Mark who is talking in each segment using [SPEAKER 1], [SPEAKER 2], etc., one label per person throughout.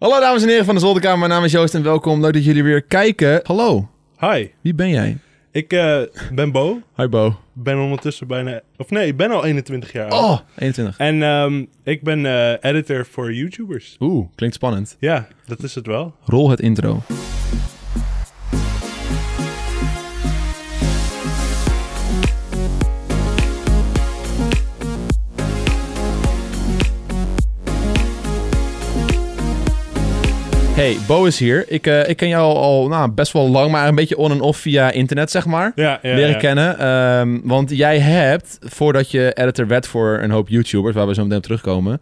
[SPEAKER 1] Hallo dames en heren van de Zolderkamer, mijn naam is Joost en welkom. Leuk dat jullie weer kijken. Hallo,
[SPEAKER 2] Hi,
[SPEAKER 1] wie ben jij?
[SPEAKER 2] ik eh, ben Bo.
[SPEAKER 1] Hi Bo.
[SPEAKER 2] Ben ondertussen bijna... Of nee, ik ben al 21 jaar oud.
[SPEAKER 1] Oh, 21.
[SPEAKER 2] En ehm, ik ben eh, editor voor YouTubers.
[SPEAKER 1] Oeh, klinkt spannend.
[SPEAKER 2] Ja, dat is het wel.
[SPEAKER 1] Rol het intro. Hey, Bo is hier. Ik, eh, ik ken jou al nou, best wel lang, maar een beetje on en off via internet, zeg maar.
[SPEAKER 2] Ja, ja,
[SPEAKER 1] leren
[SPEAKER 2] ja.
[SPEAKER 1] kennen. ehm, want jij hebt, voordat je editor werd voor een hoop YouTubers, waar we zo meteen op terugkomen,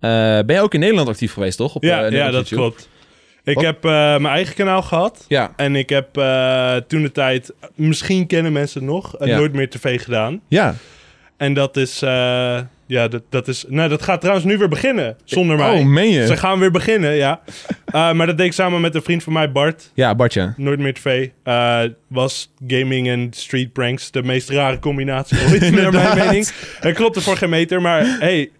[SPEAKER 1] eh, ben je ook in Nederland actief geweest, toch? Op, eh,
[SPEAKER 2] Ja, ja
[SPEAKER 1] Nederlands
[SPEAKER 2] dat
[SPEAKER 1] YouTube?
[SPEAKER 2] klopt. Ik
[SPEAKER 1] Wat?
[SPEAKER 2] heb eh, mijn eigen kanaal gehad.
[SPEAKER 1] Ja,
[SPEAKER 2] En ik heb eh, toen de tijd, misschien kennen mensen het nog, eh,
[SPEAKER 1] Ja.
[SPEAKER 2] nooit meer tv gedaan.
[SPEAKER 1] ja.
[SPEAKER 2] En dat is, eh, ja, dat, dat is, nou dat gaat trouwens nu weer beginnen, zonder mij.
[SPEAKER 1] Oh, meen je?
[SPEAKER 2] Ze gaan weer beginnen, ja. Eh, maar dat deed ik samen met een vriend van mij, Bart.
[SPEAKER 1] Ja, Bartje.
[SPEAKER 2] Nooit meer tv. Eh, was gaming en street pranks de meest rare combinatie ooit, naar mijn
[SPEAKER 1] Inderdaad.
[SPEAKER 2] mening. Het klopte voor geen meter, maar hey,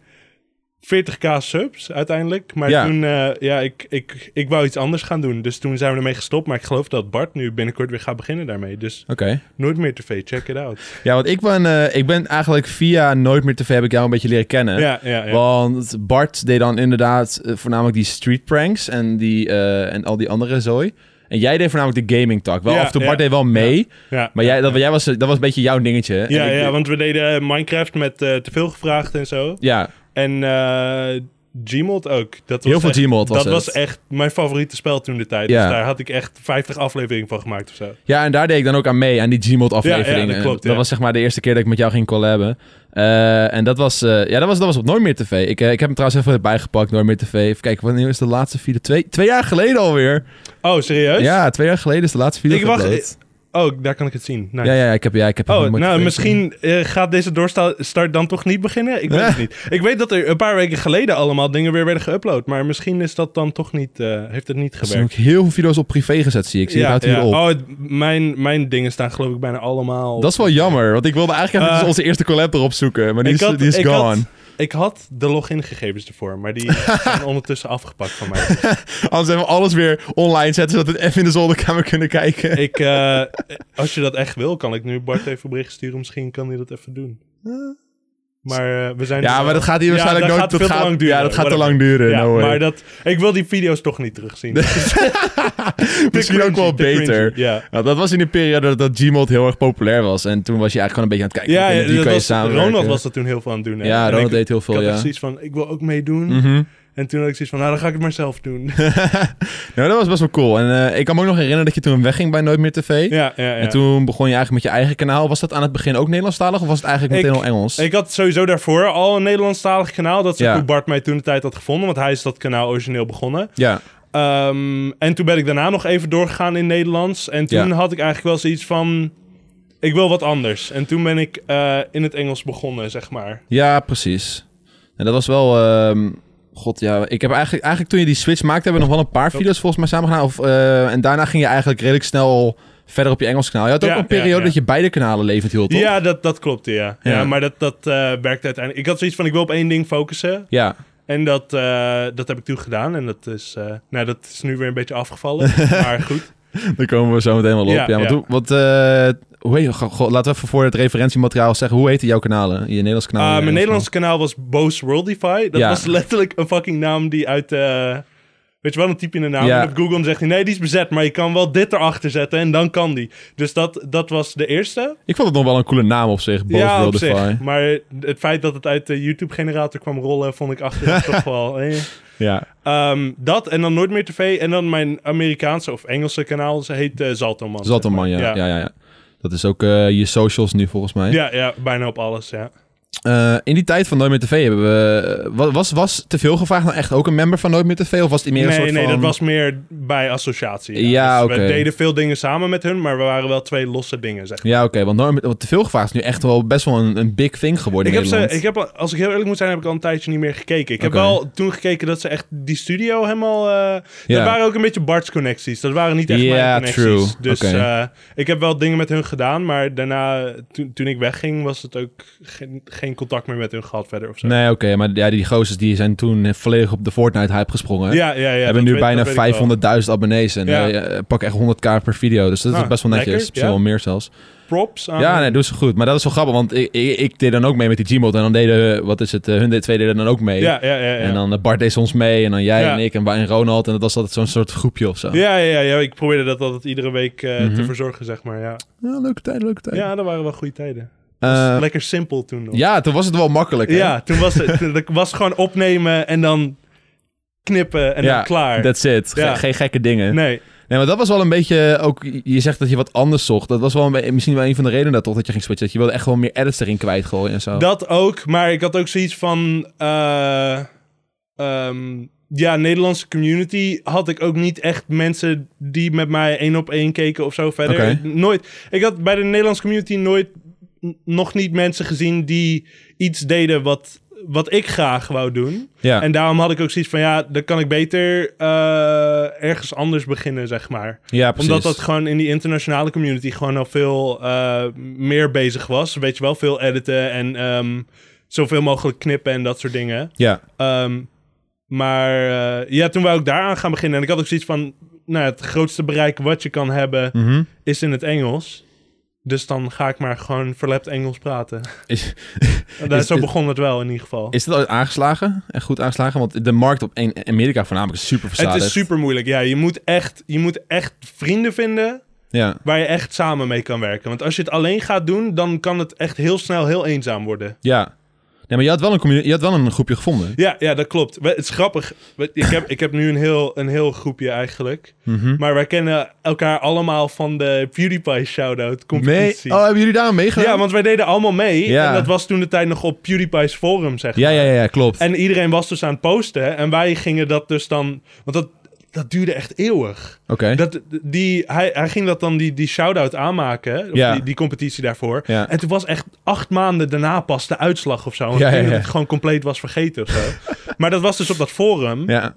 [SPEAKER 2] 40k subs uiteindelijk. Maar
[SPEAKER 1] Ja.
[SPEAKER 2] toen, eh, ja, ik, ik, ik wou iets anders gaan doen. Dus toen zijn we ermee gestopt. Maar ik geloof dat Bart nu binnenkort weer gaat beginnen daarmee. Dus
[SPEAKER 1] Oké.
[SPEAKER 2] nooit meer tv, check it out.
[SPEAKER 1] Ja, want ik ben, eh, ik ben eigenlijk via Nooit meer TV heb ik jou een beetje leren kennen.
[SPEAKER 2] Ja, ja, ja.
[SPEAKER 1] Want Bart deed dan inderdaad eh, voornamelijk die street pranks en, die, eh, en al die andere zooi. En jij deed voornamelijk de gaming talk. Wel,
[SPEAKER 2] Ja,
[SPEAKER 1] af en toe,
[SPEAKER 2] ja.
[SPEAKER 1] Bart deed wel mee,
[SPEAKER 2] ja.
[SPEAKER 1] maar jij, dat, jij was, dat was een beetje jouw dingetje. hè?
[SPEAKER 2] Ja,
[SPEAKER 1] En ik-
[SPEAKER 2] ja, want we deden eh, Minecraft met eh, te veel gevraagd en zo.
[SPEAKER 1] ja,
[SPEAKER 2] En eh Gmod ook. Dat was
[SPEAKER 1] Heel veel
[SPEAKER 2] echt-
[SPEAKER 1] Gmod was
[SPEAKER 2] Dat
[SPEAKER 1] het.
[SPEAKER 2] was echt mijn favoriete spel toen de tijd.
[SPEAKER 1] Ja.
[SPEAKER 2] Dus daar had ik echt 50 afleveringen van gemaakt of zo.
[SPEAKER 1] Ja, en daar deed ik dan ook aan mee, aan die Gmod-aflevering.
[SPEAKER 2] Ja, ja, dat
[SPEAKER 1] En
[SPEAKER 2] klopt, ja.
[SPEAKER 1] was zeg maar de eerste keer dat ik met jou ging collaben. Eh, en dat was, eh, ja, dat was, dat was op Nooit meer TV. Ik, eh, ik heb hem trouwens even bijgepakt, Nooit meer TV. Even kijken, wanneer is de laatste video? Twee, twee jaar geleden alweer.
[SPEAKER 2] Oh, serieus?
[SPEAKER 1] Ja, twee jaar geleden is de laatste video
[SPEAKER 2] Ik wacht-
[SPEAKER 1] geüpload.
[SPEAKER 2] Oh, daar kan ik het zien. Nice.
[SPEAKER 1] Ja, ja, ik heb, ja, ik heb
[SPEAKER 2] Oh,
[SPEAKER 1] hem nooit
[SPEAKER 2] nou,
[SPEAKER 1] meer
[SPEAKER 2] misschien eh, gaat deze doorstart dan toch niet beginnen? Ik weet
[SPEAKER 1] Ja.
[SPEAKER 2] het niet. Ik weet dat er een paar weken geleden allemaal dingen weer werden geüpload. Maar misschien is dat dan toch niet, eh, heeft het niet
[SPEAKER 1] Er zijn
[SPEAKER 2] gewerkt.
[SPEAKER 1] ook heel veel video's op privé gezet, zie ik. Ik Zie, ik houd hier op.
[SPEAKER 2] Oh, het- mijn, mijn dingen staan geloof ik bijna allemaal...
[SPEAKER 1] Dat is wel jammer, want ik wilde eigenlijk even
[SPEAKER 2] Eh,
[SPEAKER 1] onze eerste collab erop zoeken. Maar die is, die is
[SPEAKER 2] ik
[SPEAKER 1] gone.
[SPEAKER 2] Had, ik had de logingegevens ervoor, maar die zijn ondertussen afgepakt van mij.
[SPEAKER 1] Anders hebben we alles weer online zetten, zodat we het even in de zolderkamer kunnen kijken.
[SPEAKER 2] ik, eh, als je dat echt wil, kan ik nu Bart even een bericht sturen. Misschien kan hij dat even doen. Maar eh, we zijn...
[SPEAKER 1] Ja, maar dat gaat hier
[SPEAKER 2] Ja,
[SPEAKER 1] waarschijnlijk
[SPEAKER 2] dat
[SPEAKER 1] nooit...
[SPEAKER 2] gaat veel te lang duren.
[SPEAKER 1] Ja, dat gaat te lang
[SPEAKER 2] Whatever.
[SPEAKER 1] duren.
[SPEAKER 2] Ja,
[SPEAKER 1] no way.
[SPEAKER 2] maar dat, ik wil die video's toch niet terugzien. Te
[SPEAKER 1] Misschien ook
[SPEAKER 2] cringy,
[SPEAKER 1] wel
[SPEAKER 2] te
[SPEAKER 1] beter.
[SPEAKER 2] cringy, Ja,
[SPEAKER 1] Nou, dat was in de periode dat, dat Gmod heel erg populair was. En toen was je eigenlijk gewoon een beetje aan het kijken.
[SPEAKER 2] ja,
[SPEAKER 1] met wie
[SPEAKER 2] ja,
[SPEAKER 1] kan je
[SPEAKER 2] dat was,
[SPEAKER 1] samenwerken.
[SPEAKER 2] Ronald was dat toen heel veel aan het doen. hè.
[SPEAKER 1] Ja,
[SPEAKER 2] En
[SPEAKER 1] Ronald
[SPEAKER 2] ik,
[SPEAKER 1] deed heel
[SPEAKER 2] ik
[SPEAKER 1] veel,
[SPEAKER 2] had
[SPEAKER 1] ja.
[SPEAKER 2] echt zoiets van, ik wil ook meedoen.
[SPEAKER 1] Mhm.
[SPEAKER 2] En toen had ik zoiets van, nou, dan ga ik het maar zelf doen.
[SPEAKER 1] Nou, dat was best wel cool. En eh, ik kan me ook nog herinneren dat je toen wegging bij Nooit meer TV.
[SPEAKER 2] ja, ja, ja.
[SPEAKER 1] En toen begon je eigenlijk met je eigen kanaal. Was dat aan het begin ook Nederlandstalig of was het eigenlijk meteen
[SPEAKER 2] Ik-
[SPEAKER 1] al Engels?
[SPEAKER 2] Ik had sowieso daarvoor al een Nederlandstalig kanaal. Dat is ook
[SPEAKER 1] Ja.
[SPEAKER 2] hoe Bart mij toen de tijd had gevonden. Want hij is dat kanaal origineel begonnen.
[SPEAKER 1] ja,
[SPEAKER 2] Ehm, en toen ben ik daarna nog even doorgegaan in Nederlands. En toen
[SPEAKER 1] Ja.
[SPEAKER 2] had ik eigenlijk wel zoiets van... Ik wil wat anders. En toen ben ik eh, in het Engels begonnen, zeg maar.
[SPEAKER 1] ja, precies. En dat was wel... ehm, God, ja, ik heb eigenlijk, eigenlijk toen je die switch maakte, hebben we nog wel een paar video's volgens mij samen gedaan. Of, eh, en daarna ging je eigenlijk redelijk snel verder op je Engels kanaal. Je had ook
[SPEAKER 2] Ja,
[SPEAKER 1] een periode
[SPEAKER 2] ja, ja.
[SPEAKER 1] dat je beide kanalen levend hield, toch?
[SPEAKER 2] Ja, dat, dat klopte, ja. ja.
[SPEAKER 1] Ja.
[SPEAKER 2] maar dat, dat eh werkte uiteindelijk... Ik had zoiets van, ik wil op één ding focussen.
[SPEAKER 1] ja.
[SPEAKER 2] En dat, eh, dat heb ik toen gedaan. En dat is, eh, nou, dat is nu weer een beetje afgevallen. maar goed.
[SPEAKER 1] Daar komen we zo meteen wel op. Ja,
[SPEAKER 2] Ja,
[SPEAKER 1] want
[SPEAKER 2] ja.
[SPEAKER 1] hoe- wat, eh, hoe heet, go- go- laten we even voor het referentiemateriaal zeggen. Hoe heten jouw kanalen? Je Nederlands kanaal? en
[SPEAKER 2] Eh,
[SPEAKER 1] je
[SPEAKER 2] mijn
[SPEAKER 1] Engels
[SPEAKER 2] Nederlandse kanaal was Boos Worldify. Dat
[SPEAKER 1] Ja.
[SPEAKER 2] was letterlijk een fucking naam die uit... eh, weet je wel, een type in de naam.
[SPEAKER 1] Ja.
[SPEAKER 2] En Op Google dan zegt hij, nee, die is bezet. Maar je kan wel dit erachter zetten en dan kan die. Dus dat, dat was de eerste.
[SPEAKER 1] kanaal. Ik vond het nog wel een coole naam op zich. Boos
[SPEAKER 2] ja, op
[SPEAKER 1] Worldify.
[SPEAKER 2] zich. Maar het feit dat het uit de YouTube-generator kwam rollen... vond ik achteraf toch wel... eh.
[SPEAKER 1] Ja.
[SPEAKER 2] Ehm, dat en dan Nooit meer TV. En dan mijn Amerikaanse of Engelse kanaal. Ze heet eh Zaltoman.
[SPEAKER 1] Zat een man, ja. Ja. Ja, ja, Dat is ook eh, je socials nu volgens mij.
[SPEAKER 2] Ja, ja, bijna op alles, ja.
[SPEAKER 1] Eh, in die tijd van Nooit meer TV hebben we... eh, wa- Was, was te veel gevraagd nou echt ook een member van Nooit meer TV? Of was het meer een
[SPEAKER 2] nee,
[SPEAKER 1] soort
[SPEAKER 2] nee,
[SPEAKER 1] van...
[SPEAKER 2] dat was meer bij associatie.
[SPEAKER 1] Ja,
[SPEAKER 2] Dus
[SPEAKER 1] oké.
[SPEAKER 2] We deden veel dingen samen met hun, maar we waren wel twee losse dingen, zeg maar.
[SPEAKER 1] Ja, oké. want Nooit meer... want te veel gevraagd is nu echt wel best wel een, een big thing geworden
[SPEAKER 2] Ik
[SPEAKER 1] in
[SPEAKER 2] heb ze,
[SPEAKER 1] Nederland.
[SPEAKER 2] ik heb, al- als ik heel eerlijk moet zijn, heb ik al een tijdje niet meer gekeken. Ik heb
[SPEAKER 1] Oké.
[SPEAKER 2] wel toen gekeken dat ze echt die studio helemaal... eh
[SPEAKER 1] Ja.
[SPEAKER 2] Dat waren ook een beetje Bart's connecties. Dat waren niet echt
[SPEAKER 1] Ja,
[SPEAKER 2] mijn connecties.
[SPEAKER 1] true.
[SPEAKER 2] Dus
[SPEAKER 1] Oké.
[SPEAKER 2] eh, ik heb wel dingen met hun gedaan, maar daarna, toen toen ik wegging, was het ook geen, geen geen contact meer met hun gehad verder of zo.
[SPEAKER 1] Nee, oké, maar ja, die gozers die zijn toen volledig op de Fortnite-hype gesprongen.
[SPEAKER 2] Ja, ja, ja.
[SPEAKER 1] hebben
[SPEAKER 2] dat
[SPEAKER 1] nu
[SPEAKER 2] weet-
[SPEAKER 1] bijna
[SPEAKER 2] dat weet ik wel.
[SPEAKER 1] 500.000 abonnees en
[SPEAKER 2] Ja.
[SPEAKER 1] eh, pak echt 100k per video. Dus dat
[SPEAKER 2] Nou,
[SPEAKER 1] is best wel netjes.
[SPEAKER 2] lekker,
[SPEAKER 1] Misschien
[SPEAKER 2] ja. Ah,
[SPEAKER 1] wel meer zelfs.
[SPEAKER 2] Props aan...
[SPEAKER 1] Ja, nee, doen ze goed. Maar dat is wel grappig, want ik, ik, ik deed dan ook mee met die Gmod. En dan deden, wat is het, eh, hun de- twee deden dan ook mee.
[SPEAKER 2] ja, ja, ja, ja.
[SPEAKER 1] En dan eh, Bart deed soms mee en dan jij
[SPEAKER 2] Ja.
[SPEAKER 1] en ik en, wij en Ronald. En dat was altijd zo'n soort groepje of zo.
[SPEAKER 2] Ja, ja, ja, ja, ik probeerde dat altijd iedere week eh, te
[SPEAKER 1] Mhm.
[SPEAKER 2] verzorgen, zeg maar. Ja.
[SPEAKER 1] Ja, leuke tijd, leuke tijd.
[SPEAKER 2] ja, dat waren wel goede tijden.
[SPEAKER 1] Eh,
[SPEAKER 2] Lekker simpel toen nog.
[SPEAKER 1] ja, toen was het wel makkelijk. hè?
[SPEAKER 2] Ja, toen was het toen- dat was gewoon opnemen en dan knippen en
[SPEAKER 1] Ja,
[SPEAKER 2] dan klaar.
[SPEAKER 1] That's it. Ge-
[SPEAKER 2] Ja.
[SPEAKER 1] Geen gekke dingen.
[SPEAKER 2] nee,
[SPEAKER 1] Nee, maar dat was wel een beetje ook... Je zegt dat je wat anders zocht. Dat was wel een be- misschien wel een van de redenen dat, toch, dat je ging switchen. Dat je wilde echt wel meer edits erin kwijtgooien en zo.
[SPEAKER 2] dat ook. Maar ik had ook zoiets van... eh, ehm, ja, Nederlandse community had ik ook niet echt mensen die met mij één op één keken of zo verder.
[SPEAKER 1] Oké.
[SPEAKER 2] Nooit. Ik had bij de Nederlandse community nooit... n- nog niet mensen gezien die iets deden wat, wat ik graag wou doen.
[SPEAKER 1] ja.
[SPEAKER 2] En daarom had ik ook zoiets van... Ja, dan kan ik beter eh, ergens anders beginnen, zeg maar.
[SPEAKER 1] ja, precies.
[SPEAKER 2] Omdat dat gewoon in die internationale community gewoon al veel eh, meer bezig was. Weet je wel, veel editen en ehm, zoveel mogelijk knippen en dat soort dingen.
[SPEAKER 1] Ja,
[SPEAKER 2] Ehm, maar eh, ja, toen wou ik daaraan gaan beginnen. En ik had ook zoiets van, nou, ja, het grootste bereik wat je kan hebben
[SPEAKER 1] Mhm.
[SPEAKER 2] is in het Engels. Dus dan ga ik maar gewoon verlept Engels praten.
[SPEAKER 1] Is-
[SPEAKER 2] En daar-
[SPEAKER 1] is-
[SPEAKER 2] zo
[SPEAKER 1] is-
[SPEAKER 2] begon het wel in ieder geval.
[SPEAKER 1] Is dat ooit aangeslagen? Echt goed aangeslagen? Want de markt op een- Amerika voornamelijk is super verzadigd.
[SPEAKER 2] het is super moeilijk. Ja, je moet, echt, je moet echt vrienden vinden
[SPEAKER 1] Ja,
[SPEAKER 2] waar je echt samen mee kan werken. Want als je het alleen gaat doen, dan kan het echt heel snel heel eenzaam worden.
[SPEAKER 1] ja. Nee, maar je had wel een, commu- je had wel een groepje gevonden.
[SPEAKER 2] Ja, ja dat klopt. We- Het is grappig. We- Ik heb, ik heb nu een heel, een heel groepje eigenlijk.
[SPEAKER 1] Mhm.
[SPEAKER 2] Maar wij kennen elkaar allemaal van de PewDiePie shout-out
[SPEAKER 1] Mee-
[SPEAKER 2] competitie.
[SPEAKER 1] Oh, hebben jullie daar aan meegedaan?
[SPEAKER 2] ja, want wij deden allemaal mee.
[SPEAKER 1] Ja.
[SPEAKER 2] En dat was toen de tijd nog op PewDiePie's forum, zeg
[SPEAKER 1] ja,
[SPEAKER 2] maar.
[SPEAKER 1] ja, ja, ja, klopt.
[SPEAKER 2] En iedereen was dus aan het posten. En wij gingen dat dus dan... Want dat, dat duurde echt eeuwig.
[SPEAKER 1] Oké.
[SPEAKER 2] Dat, die, hij, hij ging dat dan die, die shout-out aanmaken, of
[SPEAKER 1] Ja.
[SPEAKER 2] die, die competitie daarvoor.
[SPEAKER 1] Ja.
[SPEAKER 2] En toen was echt acht maanden daarna pas de uitslag of zo. Want
[SPEAKER 1] Ja,
[SPEAKER 2] ik denk
[SPEAKER 1] ja,
[SPEAKER 2] dat
[SPEAKER 1] ja.
[SPEAKER 2] het gewoon compleet was vergeten of zo. maar dat was dus op dat forum.
[SPEAKER 1] Ja.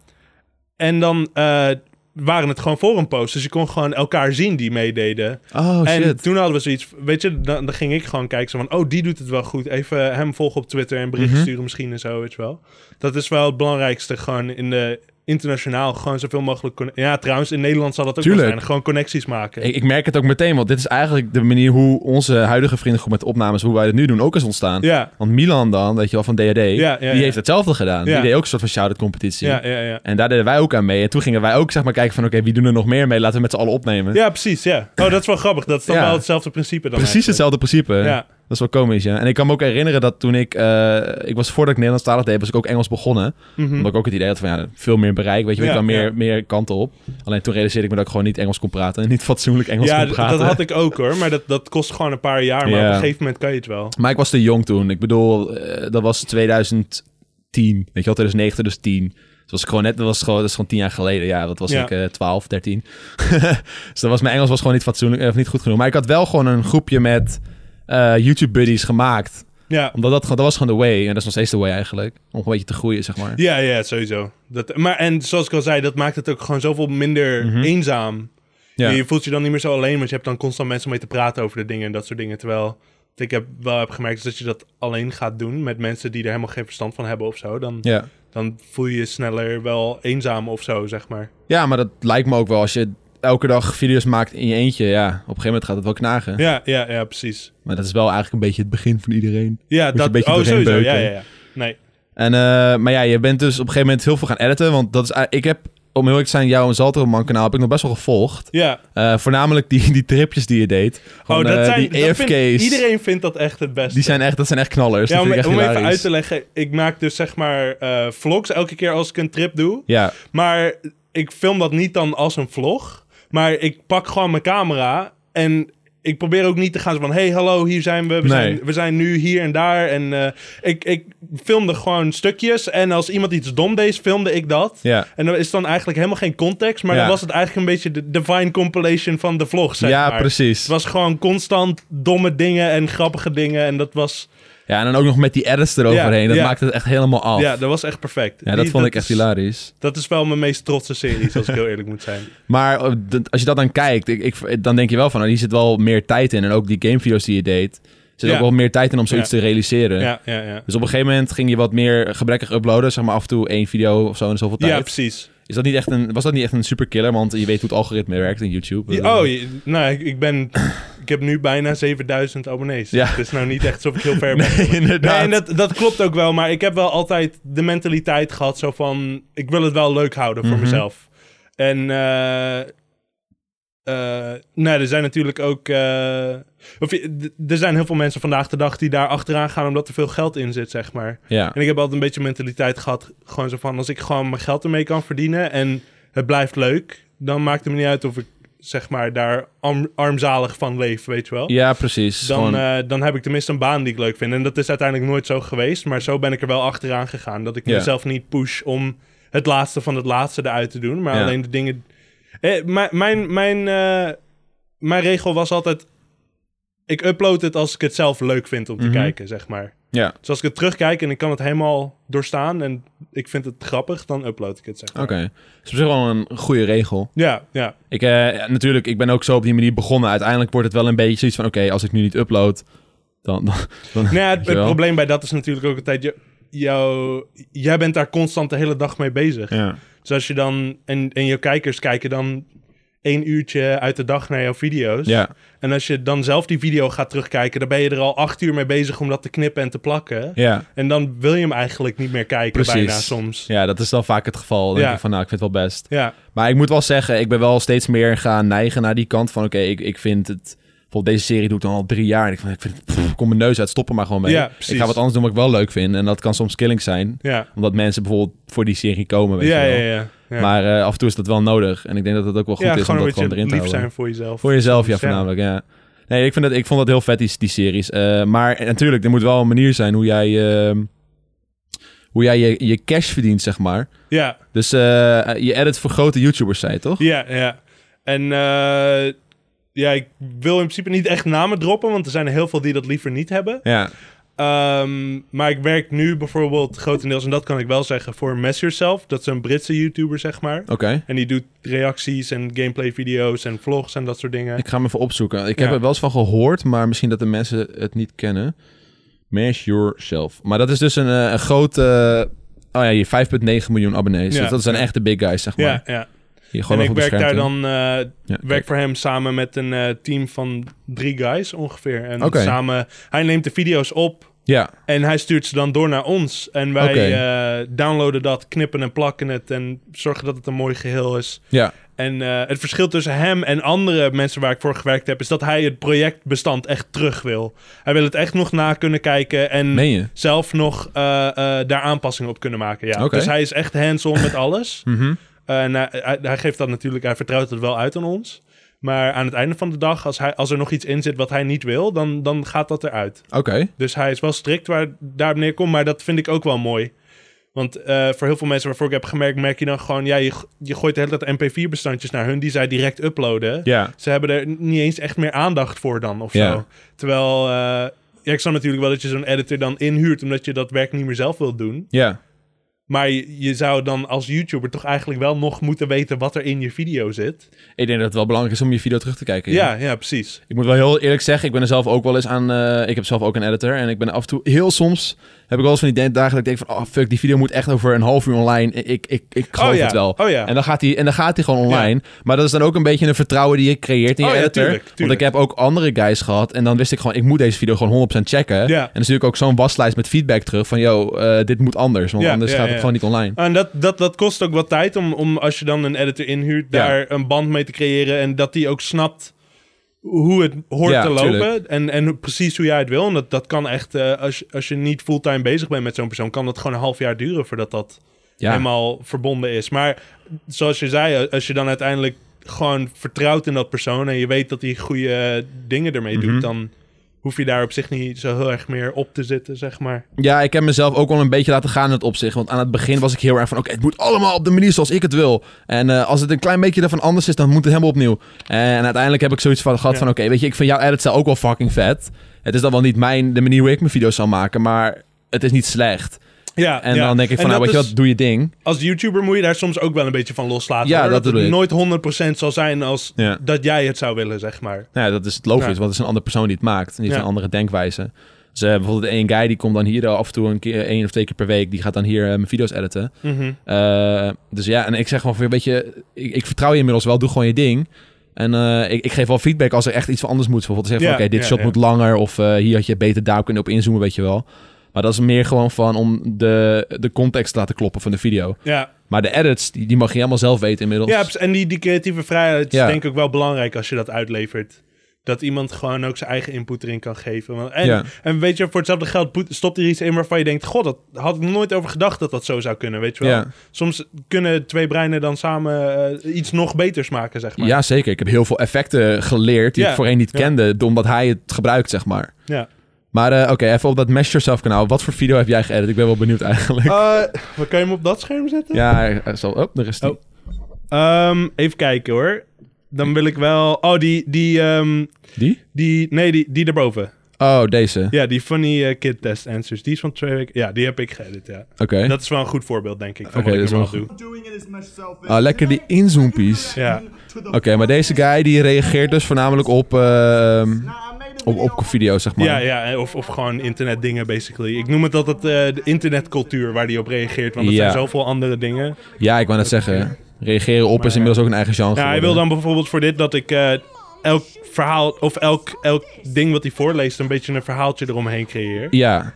[SPEAKER 2] En dan eh, waren het gewoon forumposts. Dus je kon gewoon elkaar zien die meededen.
[SPEAKER 1] Oh,
[SPEAKER 2] en
[SPEAKER 1] shit.
[SPEAKER 2] toen hadden we zoiets, weet je, dan, dan ging ik gewoon kijken. Zo van, oh, die doet het wel goed. Even hem volgen op Twitter en berichten
[SPEAKER 1] Mhm.
[SPEAKER 2] sturen misschien en zo, weet je wel. Dat is wel het belangrijkste, gewoon in de... Internationaal, gewoon zoveel mogelijk... conne- Ja, trouwens, in Nederland zal dat ook
[SPEAKER 1] Tuurlijk.
[SPEAKER 2] wel zijn. Gewoon connecties maken.
[SPEAKER 1] Ik, ik merk het ook meteen, want dit is eigenlijk de manier hoe onze huidige vriendengroep met opnames, hoe wij dat nu doen, ook is ontstaan.
[SPEAKER 2] Ja,
[SPEAKER 1] Want Milan dan, weet je wel, van DHD,
[SPEAKER 2] ja,
[SPEAKER 1] die
[SPEAKER 2] ja.
[SPEAKER 1] heeft hetzelfde gedaan.
[SPEAKER 2] Ja.
[SPEAKER 1] Die deed ook een soort van shout-out competitie.
[SPEAKER 2] ja, ja, ja.
[SPEAKER 1] En daar deden wij ook aan mee. En toen gingen wij ook zeg maar kijken van, oké, wie doen er nog meer mee? Laten we met z'n allen opnemen.
[SPEAKER 2] Ja, precies, ja. Oh, dat is wel grappig. Dat is dan
[SPEAKER 1] Ja.
[SPEAKER 2] wel hetzelfde principe dan
[SPEAKER 1] Precies
[SPEAKER 2] eigenlijk.
[SPEAKER 1] hetzelfde principe.
[SPEAKER 2] Ja,
[SPEAKER 1] Dat is wel komisch, ja. En ik kan me ook herinneren dat toen ik... eh, ik was voordat ik Nederlandstalig deed, was ik ook Engels begonnen.
[SPEAKER 2] Mhm.
[SPEAKER 1] Omdat ik ook het idee had van, ja, veel meer bereik. Weet je, wel,
[SPEAKER 2] Ja,
[SPEAKER 1] ik kan meer,
[SPEAKER 2] ja.
[SPEAKER 1] meer kanten op. Alleen toen realiseerde ik me dat ik gewoon niet Engels kon praten. En niet fatsoenlijk Engels
[SPEAKER 2] ja
[SPEAKER 1] kon
[SPEAKER 2] d-
[SPEAKER 1] praten.
[SPEAKER 2] dat had ik ook hoor. Maar dat, dat kost gewoon een paar jaar. Maar
[SPEAKER 1] Ja.
[SPEAKER 2] op een gegeven moment kan je het wel.
[SPEAKER 1] Maar ik was te jong toen. Ik bedoel, eh, dat was 2010. Weet je wel, 2009, dus 10. Dus was ik gewoon net, dat was gewoon, dat is gewoon 10 jaar geleden. Ja, dat was
[SPEAKER 2] Ja.
[SPEAKER 1] ik eh 12, 13. dus dat was, mijn Engels was gewoon niet fatsoenlijk, eh, of niet goed genoeg. Maar ik had wel gewoon een groepje met eh, YouTube-buddies gemaakt.
[SPEAKER 2] Ja,
[SPEAKER 1] Omdat dat, gewoon- dat was gewoon de way. En dat is nog steeds de way eigenlijk. Om een beetje te groeien, zeg maar.
[SPEAKER 2] ja, ja sowieso. Dat, maar en zoals ik al zei, dat maakt het ook gewoon zoveel minder
[SPEAKER 1] Mhm.
[SPEAKER 2] eenzaam.
[SPEAKER 1] Ja,
[SPEAKER 2] Je voelt je dan niet meer zo alleen. Want je hebt dan constant mensen om mee te praten over de dingen en dat soort dingen. Terwijl wat ik heb, wel heb gemerkt is dat je dat alleen gaat doen met mensen die er helemaal geen verstand van hebben of zo. Dan,
[SPEAKER 1] ja.
[SPEAKER 2] dan voel je je sneller wel eenzaam of zo, zeg maar.
[SPEAKER 1] ja maar dat lijkt me ook wel. Als je elke dag video's maakt in je eentje, ja, op een gegeven moment gaat het wel knagen.
[SPEAKER 2] Ja, ja, ja, precies.
[SPEAKER 1] Maar dat is wel eigenlijk een beetje het begin van iedereen.
[SPEAKER 2] Ja,
[SPEAKER 1] je
[SPEAKER 2] dat...
[SPEAKER 1] een beetje
[SPEAKER 2] oh,
[SPEAKER 1] doorheen
[SPEAKER 2] sowieso.
[SPEAKER 1] beuken.
[SPEAKER 2] Ja, ja, ja. Nee.
[SPEAKER 1] En, eh, maar ja, je bent dus op een gegeven moment heel veel gaan editen. Want dat is, ei- ik heb, om heel eerlijk te zijn, jouw en Zaltroman kanaal heb ik nog best wel gevolgd.
[SPEAKER 2] Ja.
[SPEAKER 1] Eh, voornamelijk die, die tripjes die je deed. Gewoon,
[SPEAKER 2] oh, dat
[SPEAKER 1] eh,
[SPEAKER 2] zijn...
[SPEAKER 1] die
[SPEAKER 2] dat vind-
[SPEAKER 1] EFK's.
[SPEAKER 2] iedereen vindt dat echt het beste.
[SPEAKER 1] Die zijn echt, dat zijn echt knallers.
[SPEAKER 2] ja,
[SPEAKER 1] dat
[SPEAKER 2] om,
[SPEAKER 1] vind ik echt
[SPEAKER 2] om even
[SPEAKER 1] hilarisch.
[SPEAKER 2] uit te leggen. Ik maak dus zeg maar eh, vlogs elke keer als ik een trip doe.
[SPEAKER 1] Ja,
[SPEAKER 2] Maar ik film dat niet dan als een vlog. Maar ik pak gewoon mijn camera en... Ik probeer ook niet te gaan zo van... hey, hallo, hier zijn we. We,
[SPEAKER 1] Nee.
[SPEAKER 2] zijn, we zijn nu hier en daar. En eh, ik, ik filmde gewoon stukjes. En als iemand iets dom deed, filmde ik dat.
[SPEAKER 1] ja.
[SPEAKER 2] En dan is dan eigenlijk helemaal geen context. Maar
[SPEAKER 1] Ja.
[SPEAKER 2] dan was het eigenlijk een beetje de divine compilation van de vlog, zeg
[SPEAKER 1] ja
[SPEAKER 2] maar.
[SPEAKER 1] precies.
[SPEAKER 2] Het was gewoon constant domme dingen en grappige dingen. En dat was,
[SPEAKER 1] Ja, en dan ook nog met die edits eroverheen.
[SPEAKER 2] Ja,
[SPEAKER 1] dat
[SPEAKER 2] ja.
[SPEAKER 1] maakt het echt helemaal af.
[SPEAKER 2] ja,
[SPEAKER 1] Ja,
[SPEAKER 2] dat was echt perfect.
[SPEAKER 1] dat
[SPEAKER 2] Die-
[SPEAKER 1] vond ik echt
[SPEAKER 2] is-
[SPEAKER 1] hilarisch.
[SPEAKER 2] Dat is wel mijn meest trotse serie, als ik heel eerlijk moet zijn.
[SPEAKER 1] Maar eh, d- als je dat dan kijkt, ik, ik, dan denk je wel van, oh, hier zit wel meer tijd in. En ook die gamevideo's die je deed. zit
[SPEAKER 2] Ja.
[SPEAKER 1] ook wel meer tijd in om zoiets
[SPEAKER 2] Ja.
[SPEAKER 1] te realiseren.
[SPEAKER 2] Ja, ja, ja.
[SPEAKER 1] Dus op een gegeven moment ging je wat meer gebrekkig uploaden. Zeg maar af en toe één video of zo in zoveel
[SPEAKER 2] Ja,
[SPEAKER 1] tijd.
[SPEAKER 2] precies.
[SPEAKER 1] Is dat niet echt een, was dat niet echt een superkiller? Want je weet hoe het algoritme werkt in YouTube.
[SPEAKER 2] Ja, oh, je- nou, ik, ik ben... Ik heb nu bijna 7000 abonnees.
[SPEAKER 1] Ja.
[SPEAKER 2] Het is nou niet echt alsof ik heel ver ben.
[SPEAKER 1] nee, inderdaad.
[SPEAKER 2] Nee, en dat, dat klopt ook wel. Maar ik heb wel altijd de mentaliteit gehad zo van... Ik wil het wel leuk houden voor
[SPEAKER 1] Mhm.
[SPEAKER 2] mezelf. En... eh, eh, nou, er zijn natuurlijk ook... eh, of, je- d- er zijn heel veel mensen vandaag de dag die daar achteraan gaan... omdat er veel geld in zit, zeg maar.
[SPEAKER 1] Ja.
[SPEAKER 2] En ik heb altijd een beetje mentaliteit gehad. Gewoon zo van, als ik gewoon mijn geld ermee kan verdienen en het blijft leuk, dan maakt het me niet uit of ik zeg maar daar arm- armzalig van leef, weet je wel.
[SPEAKER 1] ja, precies.
[SPEAKER 2] Dan,
[SPEAKER 1] Gewoon-
[SPEAKER 2] eh, dan heb ik tenminste een baan die ik leuk vind. En dat is uiteindelijk nooit zo geweest. Maar zo ben ik er wel achteraan gegaan. Dat ik
[SPEAKER 1] Ja.
[SPEAKER 2] mezelf niet push om het laatste van het laatste eruit te doen. Maar
[SPEAKER 1] Ja.
[SPEAKER 2] alleen de dingen. Eh, mijn, mijn, mijn, eh, mijn regel was altijd. Ik upload het als ik het zelf leuk vind om te
[SPEAKER 1] Mhm.
[SPEAKER 2] kijken, zeg maar.
[SPEAKER 1] ja,
[SPEAKER 2] Dus als ik het terugkijk en ik kan het helemaal doorstaan en ik vind het grappig, dan upload ik het, zeg maar.
[SPEAKER 1] oké. Dat is op zich wel een goede regel.
[SPEAKER 2] Ja, ja,
[SPEAKER 1] Ik, eh, ja, natuurlijk, ik ben ook zo op die manier begonnen. Uiteindelijk wordt het wel een beetje zoiets van... Oké, als ik nu niet upload, dan... dan, dan
[SPEAKER 2] Nou ja, het, het
[SPEAKER 1] Dankjewel.
[SPEAKER 2] probleem bij dat is natuurlijk ook altijd... Je, jou, jij bent daar constant de hele dag mee bezig.
[SPEAKER 1] ja.
[SPEAKER 2] Dus als je dan... En, en je kijkers kijken dan één uurtje uit de dag naar jouw video's.
[SPEAKER 1] ja,
[SPEAKER 2] En als je dan zelf die video gaat terugkijken... dan ben je er al acht uur mee bezig om dat te knippen en te plakken.
[SPEAKER 1] ja.
[SPEAKER 2] En dan wil je hem eigenlijk niet meer kijken
[SPEAKER 1] Precies.
[SPEAKER 2] bijna soms. Ja.
[SPEAKER 1] Ja, dat is dan vaak het geval. Dan
[SPEAKER 2] Ja.
[SPEAKER 1] denk ik van, nou, ik vind het wel best.
[SPEAKER 2] Ja,
[SPEAKER 1] Maar ik moet wel zeggen, ik ben wel steeds meer gaan neigen naar die kant van... Oké, ik, ik vind het... Bijvoorbeeld deze serie doe ik dan al drie jaar. En ik, van, ik vind het, pff, kom mijn neus uit, stop er maar gewoon mee.
[SPEAKER 2] Ja, precies.
[SPEAKER 1] ik ga wat anders doen wat ik wel leuk vind. En dat kan soms killing zijn.
[SPEAKER 2] ja,
[SPEAKER 1] Omdat mensen bijvoorbeeld voor die serie komen, weet
[SPEAKER 2] ja,
[SPEAKER 1] je wel.
[SPEAKER 2] ja. ja.
[SPEAKER 1] Maar eh, af en toe is dat wel nodig. En ik denk dat het ook wel goed
[SPEAKER 2] ja,
[SPEAKER 1] is om
[SPEAKER 2] gewoon
[SPEAKER 1] dat
[SPEAKER 2] een
[SPEAKER 1] gewoon
[SPEAKER 2] beetje
[SPEAKER 1] erin te
[SPEAKER 2] lief
[SPEAKER 1] houden.
[SPEAKER 2] zijn voor jezelf.
[SPEAKER 1] Voor jezelf, ja,
[SPEAKER 2] Ja.
[SPEAKER 1] voornamelijk, ja. Nee, ik, vind dat, ik vond dat heel vet, die, die series. Eh, maar eh, natuurlijk, er moet wel een manier zijn hoe jij, ehm, hoe jij je, je cash verdient, zeg maar.
[SPEAKER 2] Ja,
[SPEAKER 1] Dus eh, je edit voor grote YouTubers, zei je, toch?
[SPEAKER 2] Ja, ja. En eh, ja, ik wil in principe niet echt namen droppen, want er zijn heel veel die dat liever niet hebben.
[SPEAKER 1] Ja,
[SPEAKER 2] Ehm, maar ik werk nu bijvoorbeeld grotendeels, en dat kan ik wel zeggen, voor Mess Yourself. Dat is een Britse YouTuber, zeg maar.
[SPEAKER 1] oké.
[SPEAKER 2] En die doet reacties en gameplay video's en vlogs en dat soort dingen.
[SPEAKER 1] Ik ga hem even opzoeken. Ik heb
[SPEAKER 2] Ja.
[SPEAKER 1] er wel eens van gehoord, maar misschien dat de mensen het niet kennen. Mash Yourself. Maar dat is dus een, eh, een grote... Oh ja, hier 5,9 miljoen abonnees.
[SPEAKER 2] Ja.
[SPEAKER 1] Dus dat zijn echt de big guys, zeg maar.
[SPEAKER 2] Ja, ja.
[SPEAKER 1] Hier gewoon
[SPEAKER 2] En
[SPEAKER 1] even
[SPEAKER 2] ik
[SPEAKER 1] op de
[SPEAKER 2] werk daar
[SPEAKER 1] scherm
[SPEAKER 2] dan, eh,
[SPEAKER 1] doen. Ja,
[SPEAKER 2] werk voor hem samen met een eh, team van drie guys ongeveer. En
[SPEAKER 1] Oké.
[SPEAKER 2] samen, hij neemt de video's op
[SPEAKER 1] Ja,
[SPEAKER 2] En hij stuurt ze dan door naar ons. En wij
[SPEAKER 1] Oké.
[SPEAKER 2] eh, downloaden dat, knippen en plakken het. En zorgen dat het een mooi geheel is.
[SPEAKER 1] ja.
[SPEAKER 2] En eh, het verschil tussen hem en andere mensen waar ik voor gewerkt heb. is dat hij het projectbestand echt terug wil. Hij wil het echt nog na kunnen kijken. En
[SPEAKER 1] meen je?
[SPEAKER 2] zelf nog eh, eh, daar aanpassingen op kunnen maken. Ja.
[SPEAKER 1] Oké.
[SPEAKER 2] Dus hij is echt hands-on met alles.
[SPEAKER 1] Mhm.
[SPEAKER 2] Eh, en hij, hij- hij geeft dat natuurlijk, hij vertrouwt het wel uit aan ons. Maar aan het einde van de dag, als, hij, als er nog iets in zit wat hij niet wil, dan, dan gaat dat eruit.
[SPEAKER 1] Oké.
[SPEAKER 2] Dus hij is wel strikt waar daarop neerkomt, maar dat vind ik ook wel mooi. Want eh, voor heel veel mensen waarvoor ik heb gemerkt, merk je dan gewoon, ja, je, je gooit de hele tijd MP4-bestandjes naar hun die zij direct uploaden.
[SPEAKER 1] Ja.
[SPEAKER 2] Ze hebben er niet eens echt meer aandacht voor dan of
[SPEAKER 1] Ja.
[SPEAKER 2] zo. Terwijl, eh, ja, ik snap natuurlijk wel dat je zo'n editor dan inhuurt, omdat je dat werk niet meer zelf wilt doen.
[SPEAKER 1] Ja.
[SPEAKER 2] Maar je, je zou dan als YouTuber toch eigenlijk wel nog moeten weten wat er in je video zit.
[SPEAKER 1] Ik denk dat het wel belangrijk is om je video terug te kijken.
[SPEAKER 2] Ja, ja, precies.
[SPEAKER 1] Ik moet wel heel eerlijk zeggen, ik ben er zelf ook wel eens aan... eh, ik heb zelf ook een editor en ik ben af en toe... Heel soms heb ik wel eens van die dagen dat ik denk van... Oh fuck, die video moet echt over een half uur online. Ik, ik, ik geloof
[SPEAKER 2] oh ja,
[SPEAKER 1] het wel.
[SPEAKER 2] Oh ja.
[SPEAKER 1] En dan gaat hij en dan gaat hij gewoon online. Maar dat is dan ook een beetje een vertrouwen die je creëert in je
[SPEAKER 2] Oh ja,
[SPEAKER 1] editor.
[SPEAKER 2] tuurlijk, tuurlijk.
[SPEAKER 1] Want ik heb ook andere guys gehad en dan wist ik gewoon ik moet deze video gewoon 100% checken.
[SPEAKER 2] Ja.
[SPEAKER 1] En dan stuur ik ook zo'n waslijst met feedback terug van yo, eh, dit moet anders, want
[SPEAKER 2] Ja,
[SPEAKER 1] anders
[SPEAKER 2] ja,
[SPEAKER 1] gaat het
[SPEAKER 2] ja.
[SPEAKER 1] gewoon niet online.
[SPEAKER 2] En dat, dat, dat kost ook wat tijd om, om als je dan een editor inhuurt,
[SPEAKER 1] Ja.
[SPEAKER 2] daar een band mee te creëren. En dat die ook snapt hoe het hoort
[SPEAKER 1] Ja,
[SPEAKER 2] te lopen.
[SPEAKER 1] tuurlijk.
[SPEAKER 2] En, en hoe- precies hoe jij het wil. En dat, dat kan echt, eh, als, je- als je niet fulltime bezig bent met zo'n persoon, kan dat gewoon een half jaar duren voordat dat
[SPEAKER 1] Ja.
[SPEAKER 2] helemaal verbonden is. Maar zoals je zei, eh, als je dan uiteindelijk gewoon vertrouwt in dat persoon en je weet dat hij goede dingen ermee
[SPEAKER 1] Mhm.
[SPEAKER 2] doet, dan hoef je daar op zich niet zo heel erg meer op te zitten, zeg maar.
[SPEAKER 1] Ja, ik heb mezelf ook wel een beetje laten gaan in het opzicht. Want aan het begin was ik heel erg van... oké, het moet allemaal op de manier zoals ik het wil. En eh, als het een klein beetje ervan anders is, dan moet het helemaal opnieuw. En uiteindelijk heb ik zoiets van gehad
[SPEAKER 2] Ja.
[SPEAKER 1] van... oké, weet je, ik vind jouw editstijl ook wel fucking vet. Het is dan wel niet mijn, de manier hoe ik mijn video's zou maken, maar het is niet slecht.
[SPEAKER 2] Ja,
[SPEAKER 1] En
[SPEAKER 2] ja.
[SPEAKER 1] dan denk ik van,
[SPEAKER 2] En
[SPEAKER 1] nou,
[SPEAKER 2] dat
[SPEAKER 1] weet je
[SPEAKER 2] is-
[SPEAKER 1] wat, doe je ding.
[SPEAKER 2] Als YouTuber moet je daar soms ook wel een beetje van loslaten.
[SPEAKER 1] Ja,
[SPEAKER 2] hoor.
[SPEAKER 1] dat
[SPEAKER 2] dat het
[SPEAKER 1] bedoel
[SPEAKER 2] nooit 100% zal zijn als
[SPEAKER 1] Ja.
[SPEAKER 2] dat jij het zou willen, zeg maar.
[SPEAKER 1] Nou ja, dat is het logisch,
[SPEAKER 2] Ja.
[SPEAKER 1] want het is een andere persoon die het maakt. En die heeft
[SPEAKER 2] Ja.
[SPEAKER 1] een andere denkwijze. Dus eh, bijvoorbeeld één guy die komt dan hier af en toe een keer, één of twee keer per week. Die gaat dan hier eh, mijn video's editen.
[SPEAKER 2] Mhm.
[SPEAKER 1] Eh, dus ja, en ik zeg gewoon weer, weet je, ik, ik vertrouw je inmiddels wel. Doe gewoon je ding. En eh, ik, ik geef wel feedback als er echt iets van anders moet. Bijvoorbeeld zeggen, van,
[SPEAKER 2] Ja,
[SPEAKER 1] oké, dit
[SPEAKER 2] ja,
[SPEAKER 1] shot
[SPEAKER 2] ja.
[SPEAKER 1] moet langer. Of eh, hier had je beter daar kunnen op inzoomen, weet je wel. Maar dat is meer gewoon van om de, de context te laten kloppen van de video.
[SPEAKER 2] Ja,
[SPEAKER 1] Maar de edits, die, die mag je helemaal zelf weten inmiddels.
[SPEAKER 2] ja, en die, die creatieve vrijheid is
[SPEAKER 1] Ja.
[SPEAKER 2] denk ik ook wel belangrijk als je dat uitlevert. Dat iemand gewoon ook zijn eigen input erin kan geven. Want, en,
[SPEAKER 1] Ja.
[SPEAKER 2] en weet je, voor hetzelfde geld poet- stopt er iets in waarvan je denkt... God, dat had ik nooit over gedacht dat dat zo zou kunnen, weet je wel.
[SPEAKER 1] Ja.
[SPEAKER 2] Soms kunnen twee breinen dan samen eh, iets nog beters maken, zeg maar.
[SPEAKER 1] Ja, zeker. Ik heb heel veel effecten geleerd die
[SPEAKER 2] Ja,
[SPEAKER 1] ik voorheen niet
[SPEAKER 2] ja.
[SPEAKER 1] kende, omdat hij het gebruikt, zeg maar.
[SPEAKER 2] Ja.
[SPEAKER 1] Maar eh, oké, even op dat Mesh Yourself kanaal. Wat voor video heb jij geëdit? Ik ben wel benieuwd eigenlijk.
[SPEAKER 2] maar kan je hem op dat scherm zetten?
[SPEAKER 1] Ja, hij zal... Oh, daar is die.
[SPEAKER 2] Oh. Ehm, even kijken hoor. Dan wil ik wel... Oh, die... die, ehm,
[SPEAKER 1] Die?
[SPEAKER 2] die nee, die, die daarboven.
[SPEAKER 1] Oh, deze.
[SPEAKER 2] Ja, die funny eh, kid test answers. Die is van twee weken... Ja, die heb ik geëdit, ja.
[SPEAKER 1] Oké.
[SPEAKER 2] Dat is wel een goed voorbeeld, denk ik, van
[SPEAKER 1] Eh? Oké,
[SPEAKER 2] wat ik
[SPEAKER 1] dat is
[SPEAKER 2] normaal
[SPEAKER 1] wel
[SPEAKER 2] doe.
[SPEAKER 3] doing it as myself as
[SPEAKER 1] Ah, lekker die inzoompies.
[SPEAKER 2] Ja.
[SPEAKER 1] Oké, maar deze guy die reageert dus voornamelijk op, ehm, op, op video's, zeg maar.
[SPEAKER 2] Ja, ja, of, of gewoon internetdingen, basically. Ik noem het altijd eh, de internetcultuur waar die op reageert, want er
[SPEAKER 1] Ja.
[SPEAKER 2] zijn zoveel andere dingen.
[SPEAKER 1] Ja, ik wou net zeggen. Reageren op is
[SPEAKER 2] Maar-
[SPEAKER 1] inmiddels ook een eigen genre.
[SPEAKER 2] Nou, hij wil
[SPEAKER 1] geworden.
[SPEAKER 2] dan bijvoorbeeld voor dit dat ik eh, elk verhaal, of elk, elk ding wat hij voorleest, een beetje een verhaaltje eromheen creëer.
[SPEAKER 1] Ja.